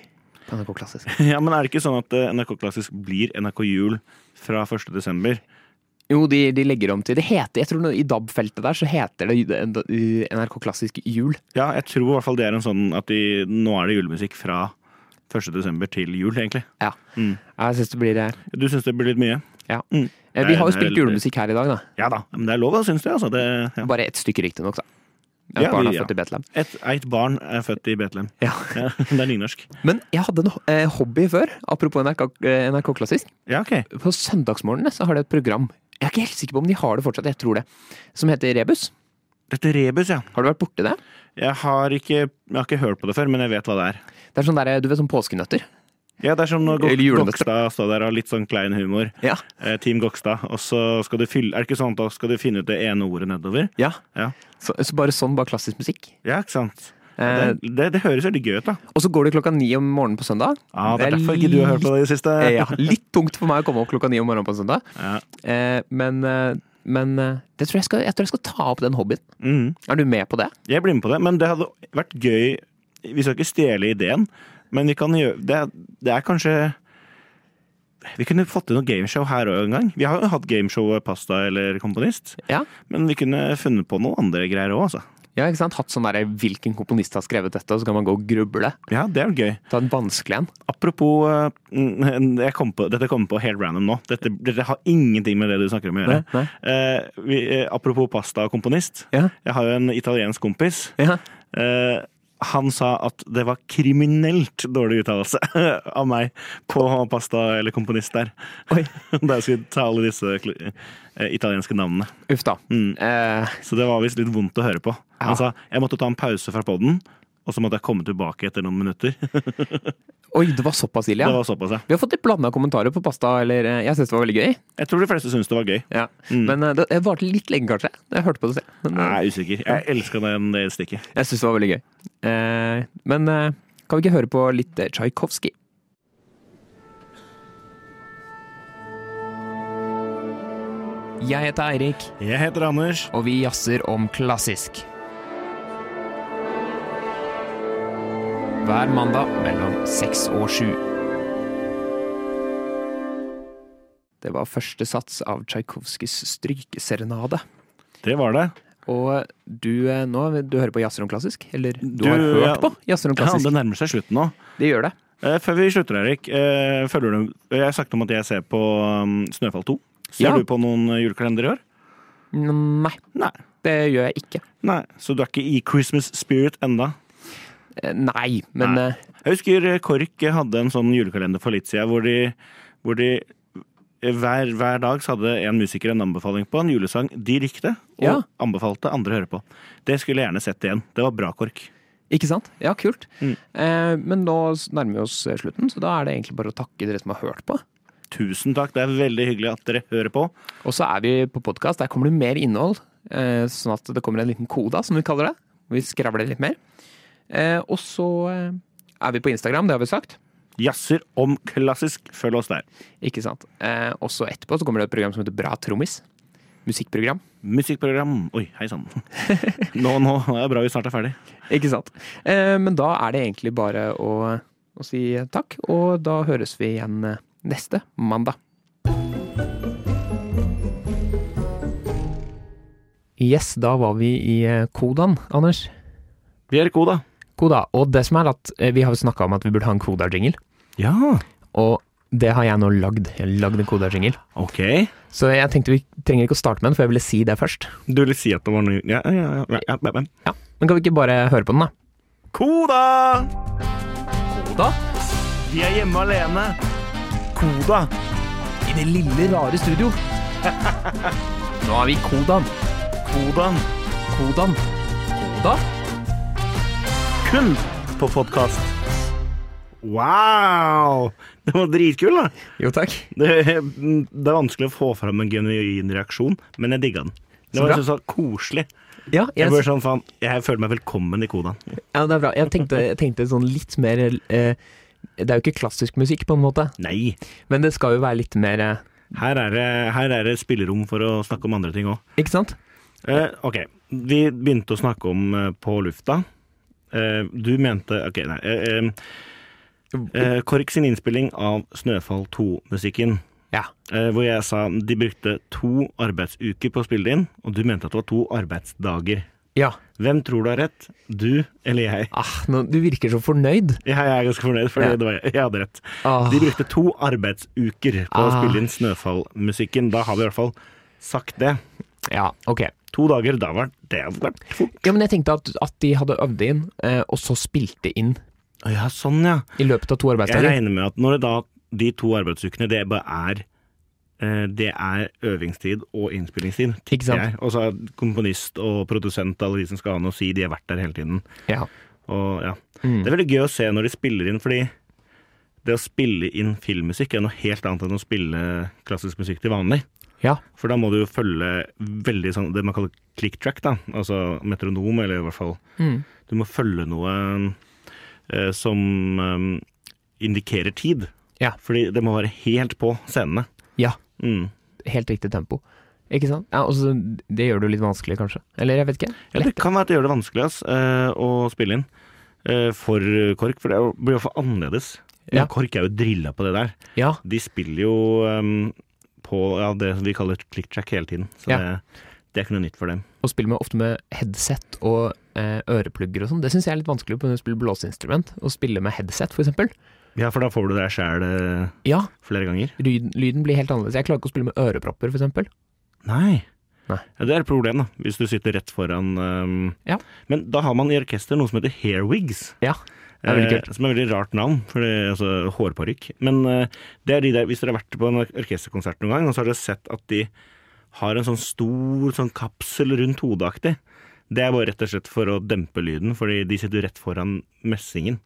[SPEAKER 1] på NRK Klassisk.
[SPEAKER 2] Ja, Men er det ikke sånn at eh, NRK Klassisk blir NRK Jul fra 1. desember?
[SPEAKER 1] Jo, de, de legger om til Det heter, jeg tror nå, i DAB-feltet der, så heter det eh, NRK Klassisk Jul.
[SPEAKER 2] Ja, jeg tror i hvert fall det er en sånn at de, nå er det julemusikk fra 1. desember til jul, egentlig.
[SPEAKER 1] Ja. Jeg syns det blir det.
[SPEAKER 2] Du syns det blir litt mye?
[SPEAKER 1] Ja.
[SPEAKER 2] Mm.
[SPEAKER 1] Eh, Vi
[SPEAKER 2] Nei,
[SPEAKER 1] har jo
[SPEAKER 2] det er
[SPEAKER 1] spilt
[SPEAKER 2] veldig-
[SPEAKER 1] julemusikk her i dag, da.
[SPEAKER 2] Ja da, men det er lov, da, syns du? Altså. Det, ja.
[SPEAKER 1] Bare ett stykke, riktignok, da. Ja,
[SPEAKER 2] Ja,
[SPEAKER 1] barna
[SPEAKER 2] vi- ja.
[SPEAKER 1] født i Betlehem.
[SPEAKER 2] Et, et barn er født i Betlehem.
[SPEAKER 1] Ja.
[SPEAKER 2] Ja, det er nynorsk.
[SPEAKER 1] Men jeg hadde en ho- eh, hobby før, apropos NRK, eh, NRK Klassisk.
[SPEAKER 2] Ja, ok.
[SPEAKER 1] På søndagsmorgenene så har de et program, jeg er ikke helt sikker på om de har det fortsatt, jeg tror det, som heter Rebus.
[SPEAKER 2] Dette rebus, ja.
[SPEAKER 1] Har du vært borti det?
[SPEAKER 2] Jeg har, ikke, jeg har ikke hørt på det før, men jeg vet hva det er.
[SPEAKER 1] Det er sånn der, du vet, sånn påskenøtter.
[SPEAKER 2] Ja, Det er som når Gok-
[SPEAKER 1] Eller julenøtter.
[SPEAKER 2] Gokstad står der og har litt sånn klein humor.
[SPEAKER 1] Ja.
[SPEAKER 2] Eh, Team Gokstad. Og så skal du fylle Er det ikke sånn at da skal du finne ut det ene ordet nedover?
[SPEAKER 1] ja.
[SPEAKER 2] Ja,
[SPEAKER 1] Så, så bare sånn, bare klassisk musikk.
[SPEAKER 2] ja ikke sant?
[SPEAKER 1] Eh,
[SPEAKER 2] Det, det, det høres veldig gøy ut, da.
[SPEAKER 1] og så går det klokka ni om morgenen på søndag.
[SPEAKER 2] Ja, det er derfor ikke du har hørt på det i det siste.
[SPEAKER 1] Eh, Ja, litt tungt for meg å komme opp klokka ni om morgenen på en søndag.
[SPEAKER 2] Ja.
[SPEAKER 1] Eh, men eh, men eh, det tror jeg, skal, jeg tror jeg skal ta opp den hobbyen.
[SPEAKER 2] Mhm.
[SPEAKER 1] Er du med på det?
[SPEAKER 2] Jeg blir med på det, men det hadde vært gøy Vi skal ikke stjele ideen, men vi kan gjøre Det, det er kanskje Vi kunne fått til noe gameshow her òg en gang. Vi har jo hatt gameshowet Pasta eller Komponist,
[SPEAKER 1] Ja,
[SPEAKER 2] men vi kunne funnet på noen andre greier òg, altså.
[SPEAKER 1] ja ikke sant? Hatt sånn derre 'hvilken komponist har skrevet dette', og så kan man gå og gruble.
[SPEAKER 2] Ja, det er jo gøy.
[SPEAKER 1] Ta en vanskelig en.
[SPEAKER 2] Apropos eh, mm, jeg kom på, Dette kom på helt random nå. Dette, dette har ingenting med det du snakker om å gjøre.
[SPEAKER 1] Nei,
[SPEAKER 2] Eh, vi, eh, apropos pasta og komponist.
[SPEAKER 1] Ja.
[SPEAKER 2] Jeg har jo en italiensk kompis.
[SPEAKER 1] Ja.
[SPEAKER 2] Eh, han sa at det var kriminelt dårlig uttalelse av meg på pasta eller komponist der.
[SPEAKER 1] Oi.
[SPEAKER 2] Da jeg skulle ta alle disse kl- eh, italienske navnene. Mm.
[SPEAKER 1] Uff da. Eh,
[SPEAKER 2] Så det var visst litt vondt å høre på.
[SPEAKER 1] Ja.
[SPEAKER 2] Han sa jeg måtte ta en pause fra poden, og så måtte jeg komme tilbake etter noen minutter.
[SPEAKER 1] oi, det var såpass ille,
[SPEAKER 2] Det
[SPEAKER 1] ja.
[SPEAKER 2] var såpass, ja.
[SPEAKER 1] Vi har fått litt blanda kommentarer på pasta, eller eh, Jeg syns det var veldig gøy.
[SPEAKER 2] Jeg tror de fleste syntes det var gøy. Mm.
[SPEAKER 1] Ja. Men eh, det det varte litt lenge, kanskje. Jeg hørte på det selv. Men, eh,
[SPEAKER 2] Jeg er usikker. Jeg elska den det stikket.
[SPEAKER 1] jeg syns det var veldig gøy. Eh, men eh, kan vi ikke høre på litt eh, Tsjajkovskij? Jeg heter Eirik,
[SPEAKER 2] Jeg heter Anders.
[SPEAKER 1] og vi jazzer om klassisk. Hver mandag mellom seks og sju. Det var første sats av Tsjajkovskijs strykeserenade.
[SPEAKER 2] Det var det.
[SPEAKER 1] Og du eh, nå, du hører på Jazzer om klassisk? Eller du,
[SPEAKER 2] Du,
[SPEAKER 1] har hørt
[SPEAKER 2] ja.
[SPEAKER 1] på Jazzer om
[SPEAKER 2] Ja,
[SPEAKER 1] klassisk?
[SPEAKER 2] det nærmer seg slutten nå.
[SPEAKER 1] Det gjør det.
[SPEAKER 2] Eh, Før vi slutter, Erik. eh, Følger du Jeg har sagt om at jeg ser på um, Snøfall 2. Ser
[SPEAKER 1] Ja.
[SPEAKER 2] du på noen eh, julekalender i år?
[SPEAKER 1] Nei,
[SPEAKER 2] Nei.
[SPEAKER 1] det gjør jeg ikke.
[SPEAKER 2] Nei. Så du er ikke i Christmas spirit enda?
[SPEAKER 1] Eh, Nei, men
[SPEAKER 2] Nei.
[SPEAKER 1] eh,
[SPEAKER 2] Jeg husker eh, Kork hadde en sånn julekalender for litt siden hvor de, hvor de eh, hver, hver dag så hadde en musiker en anbefaling på en julesang de likte, og
[SPEAKER 1] Ja.
[SPEAKER 2] anbefalte andre å høre på. Det skulle jeg gjerne sett igjen. Det var bra, Kork.
[SPEAKER 1] ikke sant? Ja, kult.
[SPEAKER 2] Mm.
[SPEAKER 1] Eh, men nå s- nærmer vi oss eh, slutten, så da er det egentlig bare å takke dere som har hørt på.
[SPEAKER 2] Tusen takk. Det er veldig hyggelig at dere hører på.
[SPEAKER 1] Og så er vi på podkast. Der kommer det mer innhold. eh, Sånn at det kommer en liten koda, som vi kaller det. Vi skravler litt mer. Eh, Og så eh, er vi på Instagram, det har vi sagt.
[SPEAKER 2] Jazzer om klassisk. Følg oss der.
[SPEAKER 1] Ikke sant? Eh, Og så etterpå så kommer det et program som heter Bra trommis. Musikkprogram.
[SPEAKER 2] Musikkprogram Oi, hei sann. Nå, nå er det bra vi snart er ferdig.
[SPEAKER 1] Ikke sant. Eh, men da er det egentlig bare å, å si takk, og da høres vi igjen eh, neste mandag. Yes, da var vi i eh, Kodan, Anders.
[SPEAKER 2] Vi er i koda.
[SPEAKER 1] Koda. Og det som er at eh, vi har jo snakka om at vi burde ha en Koda-jingle,
[SPEAKER 2] Ja.
[SPEAKER 1] og det har jeg nå lagd. Jeg har lagd en Koda-jingle.
[SPEAKER 2] Ok.
[SPEAKER 1] Så jeg tenkte vi trenger ikke å starte med den, for jeg ville si det først.
[SPEAKER 2] Du vil si at det var noe Ja, ja, ja. ja, ja, ja, ja.
[SPEAKER 1] Ja. Men kan vi ikke bare høre på den, da?
[SPEAKER 2] Koda!
[SPEAKER 1] Koda?
[SPEAKER 2] Vi er hjemme alene. Koda.
[SPEAKER 1] I det lille, rare studio. nå er vi i Kodaen.
[SPEAKER 2] Kodaen.
[SPEAKER 1] Kodan. Koda?
[SPEAKER 2] Kun på podkast. Wow! Det var dritkul, da.
[SPEAKER 1] Jo, takk.
[SPEAKER 2] Det, det er vanskelig å få fram en genuin reaksjon, men jeg digga den. Det
[SPEAKER 1] Så
[SPEAKER 2] var
[SPEAKER 1] bra.
[SPEAKER 2] jeg synes, det var koselig.
[SPEAKER 1] Ja,
[SPEAKER 2] Jeg,
[SPEAKER 1] jeg,
[SPEAKER 2] ble sånn, faen, jeg føler meg velkommen i kodaen.
[SPEAKER 1] ja det er bra. Jeg tenkte, jeg tenkte sånn litt mer eh, Det er jo ikke klassisk musikk, på en måte,
[SPEAKER 2] Nei.
[SPEAKER 1] men det skal jo være litt mer eh,
[SPEAKER 2] Her er, det, her er det spillerom for å snakke om andre ting òg.
[SPEAKER 1] Ikke sant?
[SPEAKER 2] Eh, ok, vi begynte å snakke om eh, på lufta. Eh, du mente Ok, nei. Eh, eh, eh, Kork sin innspilling av Snøfall 2-musikken.
[SPEAKER 1] Ja.
[SPEAKER 2] Eh, hvor jeg sa de brukte to arbeidsuker på å spille det inn, og du mente at det var to arbeidsdager.
[SPEAKER 1] Ja.
[SPEAKER 2] Hvem tror du har rett? Du eller jeg?
[SPEAKER 1] Ah, nå, du virker så fornøyd.
[SPEAKER 2] Ja, jeg er ganske fornøyd, for
[SPEAKER 1] Ja.
[SPEAKER 2] det var jeg. jeg hadde rett.
[SPEAKER 1] Ah.
[SPEAKER 2] De brukte to arbeidsuker på å
[SPEAKER 1] Ah.
[SPEAKER 2] spille inn Snøfall-musikken. Da har vi i hvert fall sagt det.
[SPEAKER 1] Ja, ok.
[SPEAKER 2] To dager, da var det hadde vært fort.
[SPEAKER 1] Ja, men jeg tenkte at, at de hadde øvd inn, eh, og så spilte inn
[SPEAKER 2] Å Ja, sånn ja.
[SPEAKER 1] i løpet av to
[SPEAKER 2] Jeg
[SPEAKER 1] arbeidsdager.
[SPEAKER 2] regner med at når det da de to arbeidsukene, det bare er eh, det er øvingstid og innspillingstid.
[SPEAKER 1] Ikke sant?
[SPEAKER 2] Jeg- Og så er komponist og produsent alle de som skal ha noe å si, de har vært der hele tiden.
[SPEAKER 1] Ja.
[SPEAKER 2] Og ja.
[SPEAKER 1] Mm.
[SPEAKER 2] Det er veldig gøy å se når de spiller inn, fordi det å spille inn filmmusikk er noe helt annet enn å spille klassisk musikk til vanlig.
[SPEAKER 1] Ja.
[SPEAKER 2] For da må du jo følge veldig sånn det man kaller click track, da. Altså metronom, eller i hvert fall
[SPEAKER 1] Mm.
[SPEAKER 2] Du må følge noe eh, som eh, indikerer tid.
[SPEAKER 1] Ja.
[SPEAKER 2] Fordi det må være helt på scenene.
[SPEAKER 1] ja.
[SPEAKER 2] Mm.
[SPEAKER 1] Helt riktig tempo. Ikke sant? Ja, og så, det gjør det jo litt vanskelig, kanskje. Eller jeg vet ikke.
[SPEAKER 2] Ja, det kan være at det gjør det vanskelig ass, eh, å spille inn eh, for KORK, for det er jo- blir jo for annerledes.
[SPEAKER 1] Ja.
[SPEAKER 2] Men KORK er jo drilla på det der.
[SPEAKER 1] Ja.
[SPEAKER 2] De spiller jo ehm, på ja, det vi kaller click track hele tiden. Så
[SPEAKER 1] Ja.
[SPEAKER 2] det, det er ikke noe nytt for dem.
[SPEAKER 1] Og spiller med, ofte med headset og eh, øreplugger og sånn. Det syns jeg er litt vanskelig på når du spiller blåseinstrument. Å spille med headset, for eksempel.
[SPEAKER 2] Ja, for da får du det sjæl eh,
[SPEAKER 1] Ja,
[SPEAKER 2] flere ganger.
[SPEAKER 1] lyden, lyden blir helt annerledes. Jeg klarer ikke å spille med ørepropper, for eksempel.
[SPEAKER 2] Nei.
[SPEAKER 1] Nei.
[SPEAKER 2] Ja, det er et problem, da, hvis du sitter rett foran ehm,
[SPEAKER 1] Ja.
[SPEAKER 2] Men da har man i orkester noe som heter hairwigs.
[SPEAKER 1] Ja. Det er veldig
[SPEAKER 2] eh, Som er et veldig rart navn, for det er altså hårparykk. Men eh, det er de der, hvis dere har vært på en orkesterkonsert noen gang, og så har dere sett at de har en sånn stor sånn kapsel rundt hodeaktig. Det er bare rett og slett for å dempe lyden, fordi de sitter rett foran messingen,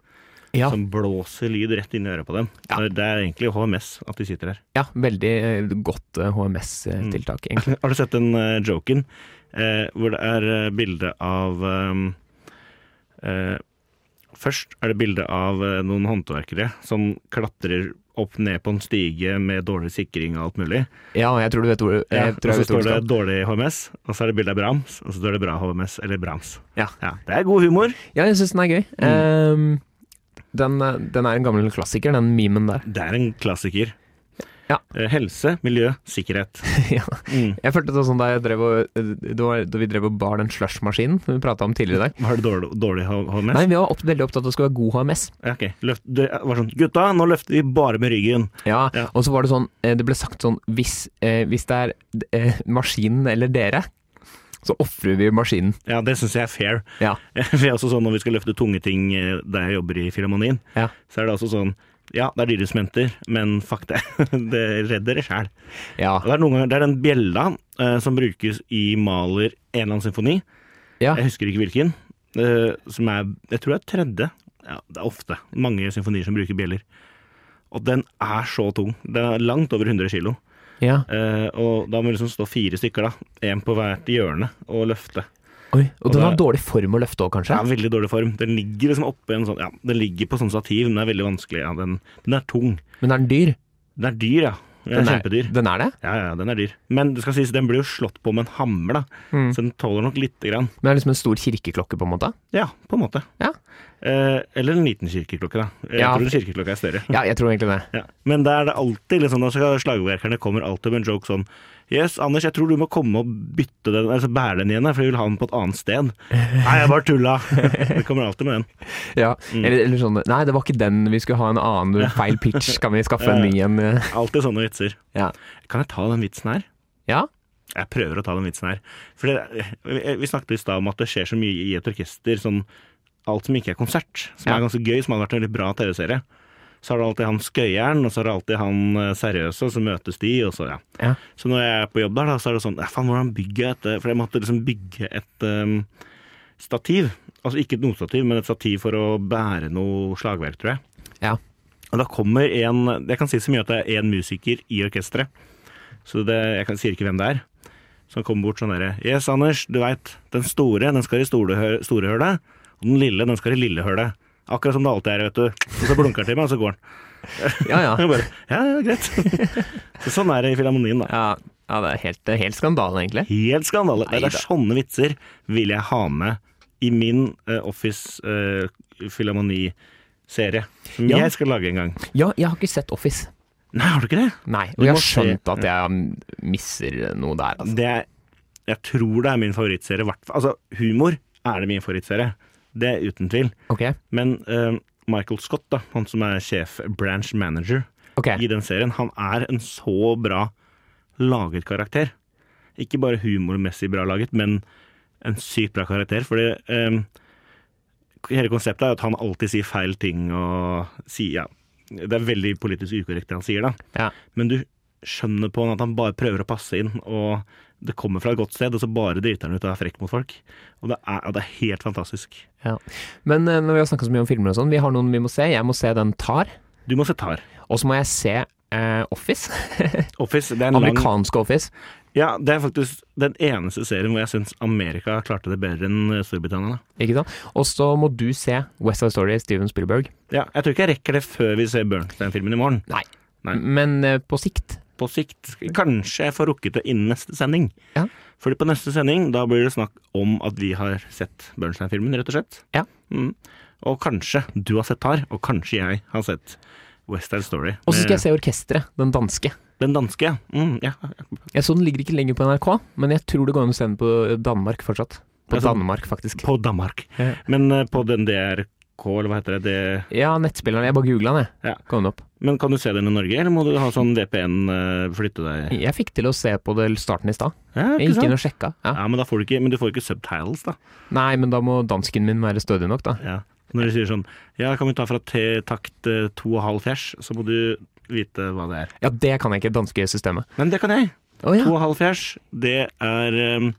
[SPEAKER 1] Ja,
[SPEAKER 2] som blåser lyd rett inn i øret på dem.
[SPEAKER 1] Ja.
[SPEAKER 2] Det er egentlig HMS at de sitter her.
[SPEAKER 1] ja veldig eh, godt eh, HMS-tiltak, egentlig.
[SPEAKER 2] Har du sett den eh, joken eh, hvor det er eh, bilde av ehm, eh, Først er det bilde av eh, noen håndverkere som klatrer opp ned på en stige med dårlig sikring og alt mulig.
[SPEAKER 1] Ja, jeg tror du vet hvor jeg
[SPEAKER 2] Ja, og
[SPEAKER 1] tror jeg
[SPEAKER 2] så
[SPEAKER 1] vet hvor
[SPEAKER 2] står
[SPEAKER 1] du
[SPEAKER 2] det
[SPEAKER 1] skal.
[SPEAKER 2] dårlig HMS, og så er det bilde av Brahms, og så står det bra HMS eller Brahms.
[SPEAKER 1] Ja.
[SPEAKER 2] Det er god humor.
[SPEAKER 1] Ja, jeg syns den er gøy.
[SPEAKER 2] Mm.
[SPEAKER 1] Ehm, den, eh, den er en gammel klassiker, den memen der.
[SPEAKER 2] Det er en klassiker.
[SPEAKER 1] Ja.
[SPEAKER 2] Eh, helse, miljø, sikkerhet.
[SPEAKER 1] ja.
[SPEAKER 2] Mm.
[SPEAKER 1] Jeg følte det var sånn da, jeg drev og, det var, da vi drev og bar den slushmaskinen som vi prata om tidligere i dag.
[SPEAKER 2] Var det dårlig, dårlig H- HMS?
[SPEAKER 1] Nei, vi var opp, veldig opptatt av at det skulle være god HMS.
[SPEAKER 2] Ja, ok. Løft, det var sånn Gutta, nå løfter vi bare med ryggen.
[SPEAKER 1] Ja,
[SPEAKER 2] Ja.
[SPEAKER 1] Og så var det sånn, eh, det ble sagt sånn Hvis, eh, hvis det er eh, maskinen eller dere, så ofrer vi maskinen.
[SPEAKER 2] Ja, det syns jeg er fair.
[SPEAKER 1] Ja.
[SPEAKER 2] For jeg er også sånn Når vi skal løfte tunge ting eh, der jeg jobber i Filharmonien,
[SPEAKER 1] Ja.
[SPEAKER 2] så er det også sånn Ja, det er dyre instrumenter, men fuck det. Det redder dere sjæl.
[SPEAKER 1] Ja.
[SPEAKER 2] Det er noen ganger Det er den bjella eh, som brukes i Maler en eller annen symfoni.
[SPEAKER 1] Ja.
[SPEAKER 2] Jeg husker ikke hvilken. eh, som er Jeg tror det er tredje. Ja, det er ofte mange symfonier som bruker bjeller. Og den er så tung. Den er langt over 100 kilo.
[SPEAKER 1] ja.
[SPEAKER 2] Eh, og da må det liksom stå fire stykker, da. Én på hvert hjørne, og løfte.
[SPEAKER 1] Oi, og,
[SPEAKER 2] Og
[SPEAKER 1] den har
[SPEAKER 2] det-
[SPEAKER 1] dårlig form å løfte òg, kanskje?
[SPEAKER 2] Ja, veldig dårlig form. Den ligger liksom oppe i en sånn Ja, den ligger på sånn stativ, men den er veldig vanskelig. Ja, den, den er tung.
[SPEAKER 1] Men er den dyr?
[SPEAKER 2] Den er dyr, ja. Den er kjempedyr.
[SPEAKER 1] Den er det?
[SPEAKER 2] Ja, ja, den er dyr. Men det skal sies, den blir jo slått på med en hammer, da.
[SPEAKER 1] Mm.
[SPEAKER 2] Så den tåler nok lite grann.
[SPEAKER 1] Men det er liksom en stor kirkeklokke, på en måte?
[SPEAKER 2] Ja, på en måte.
[SPEAKER 1] Ja.
[SPEAKER 2] Eh, eller en liten kirkeklokke, da. Jeg
[SPEAKER 1] Ja,
[SPEAKER 2] tror
[SPEAKER 1] for-
[SPEAKER 2] en kirkeklokke er større.
[SPEAKER 1] Ja, jeg tror egentlig det.
[SPEAKER 2] Ja. Men der er det alltid liksom, når skal- slagverkerne kommer alltid med en joke sånn Yes, Anders, jeg tror du må komme og bytte den, altså bære den igjen, her, for jeg vil ha den på et annet sted. Nei, jeg bare tulla! Det kommer alltid med den.
[SPEAKER 1] Ja, eller, eller sånn Nei, det var ikke den vi skulle ha en annen feil pitch. Kan vi skaffe en ny en? eh?»
[SPEAKER 2] Alltid sånne vitser.
[SPEAKER 1] Ja.
[SPEAKER 2] Kan jeg ta den vitsen her?
[SPEAKER 1] ja.
[SPEAKER 2] Jeg prøver å ta den vitsen her. For det, eh, vi- vi snakket i stad om at det skjer så mye i et orkester, sånn alt som ikke er konsert, som
[SPEAKER 1] Ja.
[SPEAKER 2] er ganske gøy, som hadde vært en veldig bra TV-serie. Så har du alltid han skøyeren, og så har du alltid han eh, seriøse, og så møtes de, og så ja.
[SPEAKER 1] Ja.
[SPEAKER 2] Så når jeg er på jobb der, da, så er det sånn ja, Faen, hvordan bygger jeg dette? For jeg måtte liksom bygge et eh, stativ. Altså ikke et notestativ, men et stativ for å bære noe slagverk, tror jeg.
[SPEAKER 1] Ja.
[SPEAKER 2] Og da kommer en Jeg kan si så mye at det er én musiker i orkesteret. Så det, jeg kan, sier ikke hvem det er. Som kommer bort sånn derre Yes, Anders, du veit. Den store, den skal i storehø- storehølet. Og den lille, den skal i lillehølet. Akkurat som det alltid er, vet du. Og så blunker han til meg, og så går han.
[SPEAKER 1] Ja, ja.
[SPEAKER 2] Jeg bare, ja, ja, greit. Så sånn er det i Filharmonien, da.
[SPEAKER 1] ja. Ja, det er helt, det er helt skandale, egentlig.
[SPEAKER 2] Helt skandale. Nei,
[SPEAKER 1] Neida.
[SPEAKER 2] det er sånne vitser vil jeg ha med i min eh, Office uh, Filharmoni-serie. Som
[SPEAKER 1] Ja.
[SPEAKER 2] jeg skal lage en gang.
[SPEAKER 1] Ja, jeg har ikke sett Office.
[SPEAKER 2] Nei, har du ikke det?
[SPEAKER 1] Nei,
[SPEAKER 2] Du
[SPEAKER 1] og jeg
[SPEAKER 2] må
[SPEAKER 1] har
[SPEAKER 2] se-
[SPEAKER 1] skjønt at jeg mm, misser noe der, altså.
[SPEAKER 2] Det er, Jeg tror det er min favorittserie. hvert fall- Altså, humor er det min favorittserie. Det er uten tvil.
[SPEAKER 1] Ok.
[SPEAKER 2] Men eh, Michael Scott, da, han som er sjef branch manager
[SPEAKER 1] ok.
[SPEAKER 2] i den serien, han er en så bra laget karakter. Ikke bare humormessig bra laget, men en sykt bra karakter. Fordi eh, hele konseptet er at han alltid sier feil ting og sier ja, Det er veldig politisk ukorrekt det han sier, da
[SPEAKER 1] Ja.
[SPEAKER 2] men du skjønner på han at han bare prøver å passe inn, og det kommer fra et godt sted, og så bare driter han ut og er frekk mot folk. Og det er, og det er helt fantastisk.
[SPEAKER 1] ja. Men eh, når vi har snakka så mye om filmer og sånn, vi har noen vi må se. Jeg må se den Tar.
[SPEAKER 2] Du må se Tar.
[SPEAKER 1] Og så må jeg se eh, Office.
[SPEAKER 2] Office, det er en lang
[SPEAKER 1] Amerikanske Office.
[SPEAKER 2] Ja, det er faktisk den eneste serien hvor jeg syns Amerika klarte det bedre enn Storbritannia. da.
[SPEAKER 1] Ikke sant? Og så må du se West Side Story, Steven Spielberg.
[SPEAKER 2] Ja, jeg tror ikke jeg rekker det før vi ser Bernstein-filmen i morgen.
[SPEAKER 1] Nei.
[SPEAKER 2] Nei.
[SPEAKER 1] Men eh, på sikt.
[SPEAKER 2] På sikt. Kanskje jeg får rukket det innen neste sending.
[SPEAKER 1] Ja.
[SPEAKER 2] Fordi på neste sending da blir det snakk om at vi har sett Bernstein-filmen, rett og slett.
[SPEAKER 1] Ja.
[SPEAKER 2] Mm. Og kanskje du har sett Tar, og kanskje jeg har sett West Side Story.
[SPEAKER 1] Og så skal jeg
[SPEAKER 2] Med
[SPEAKER 1] se orkesteret, den danske.
[SPEAKER 2] Den danske, ja. Mm, ja. ja.
[SPEAKER 1] Jeg så den ligger ikke lenger på NRK, men jeg tror det går an å se den på Danmark fortsatt. På
[SPEAKER 2] Altså-
[SPEAKER 1] Danmark, faktisk.
[SPEAKER 2] På Danmark.
[SPEAKER 1] Ja.
[SPEAKER 2] Men eh, på den DRK, eller hva heter det? det
[SPEAKER 1] Ja, nettspilleren. Jeg bare googla den, jeg.
[SPEAKER 2] Ja.
[SPEAKER 1] Kom den opp.
[SPEAKER 2] men kan du se den i Norge, eller må du ha sånn VPN, eh, flytte deg
[SPEAKER 1] Jeg fikk til å se på det starten i stad.
[SPEAKER 2] Ja,
[SPEAKER 1] Jeg gikk inn
[SPEAKER 2] ikke sant?
[SPEAKER 1] og sjekka. Ja.
[SPEAKER 2] Ja, men, da får du ikke, men du får ikke subtitles, da.
[SPEAKER 1] Nei, men da må dansken min være stødig nok, da.
[SPEAKER 2] Ja. Når de sier sånn Ja, kan vi ta fra T-takt eh, to og halv fjers, så må du vite hva det er.
[SPEAKER 1] Ja, det kan jeg ikke, danske systemet.
[SPEAKER 2] Men det kan jeg.
[SPEAKER 1] Å
[SPEAKER 2] To
[SPEAKER 1] ja,
[SPEAKER 2] og halv fjers, det er eh,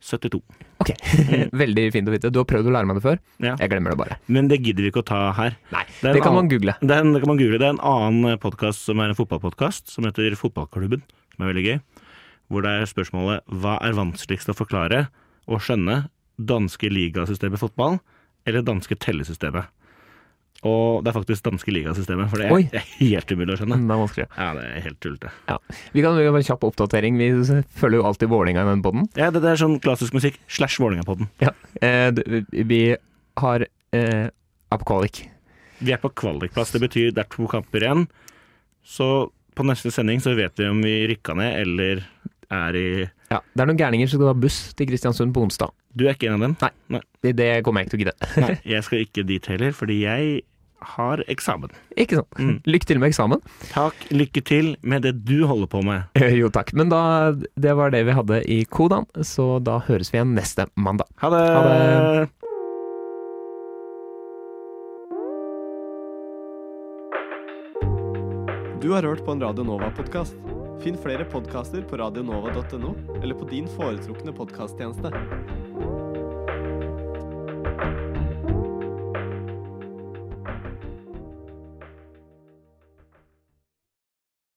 [SPEAKER 2] 72.
[SPEAKER 1] ok. Veldig fint å vite. Du har prøvd å lære meg det før.
[SPEAKER 2] Mm. Ja.
[SPEAKER 1] Jeg glemmer det bare.
[SPEAKER 2] Men det gidder vi ikke å ta her.
[SPEAKER 1] Nei,
[SPEAKER 2] er en
[SPEAKER 1] det kan
[SPEAKER 2] annen-
[SPEAKER 1] man google.
[SPEAKER 2] Det er, en, det kan man google. Det er en annen podkast som er en fotballpodkast, som heter Fotballklubben, som er veldig gøy. Hvor det er spørsmålet hva er vanskeligst å forklare og skjønne danske ligasystemet fotball eller danske tellesystemet? Og det er faktisk danske ligasystemet, for det er,
[SPEAKER 1] Oi. Mm.
[SPEAKER 2] det er helt umulig å skjønne.
[SPEAKER 1] Det er vanskelig.
[SPEAKER 2] Ja, det er helt tullete.
[SPEAKER 1] Ja. Vi kan gjøre en kjapp oppdatering. Vi følger jo alltid Vålerenga i den podden.
[SPEAKER 2] Ja, det, det er sånn klassisk musikk slash Vålerenga-podden.
[SPEAKER 1] Ja. Eh, d- vi har eh, Apokalik.
[SPEAKER 2] Vi er på kvalikplass. Det betyr det er to kamper igjen. Så på neste sending så vet vi om vi rykka ned eller er i
[SPEAKER 1] Ja. Det er noen gærninger som skal ta buss til Kristiansund på onsdag.
[SPEAKER 2] Du er ikke en av dem?
[SPEAKER 1] Nei. Det, det kommer jeg ikke til å gidde.
[SPEAKER 2] Nei, jeg skal ikke dit heller, fordi jeg har eksamen.
[SPEAKER 1] Ikke sant?
[SPEAKER 2] Mm.
[SPEAKER 1] Lykke til med eksamen.
[SPEAKER 2] Takk, lykke til med det du holder på med.
[SPEAKER 1] Eh, Jo takk. Men da, det var det vi hadde i Kodan, så da høres vi igjen neste mandag.
[SPEAKER 2] Ha det!
[SPEAKER 1] Ha det.
[SPEAKER 5] Du har hørt på en Radio Nova-podkast. Finn flere podkaster på radionova.no eller på din foretrukne podkasttjeneste.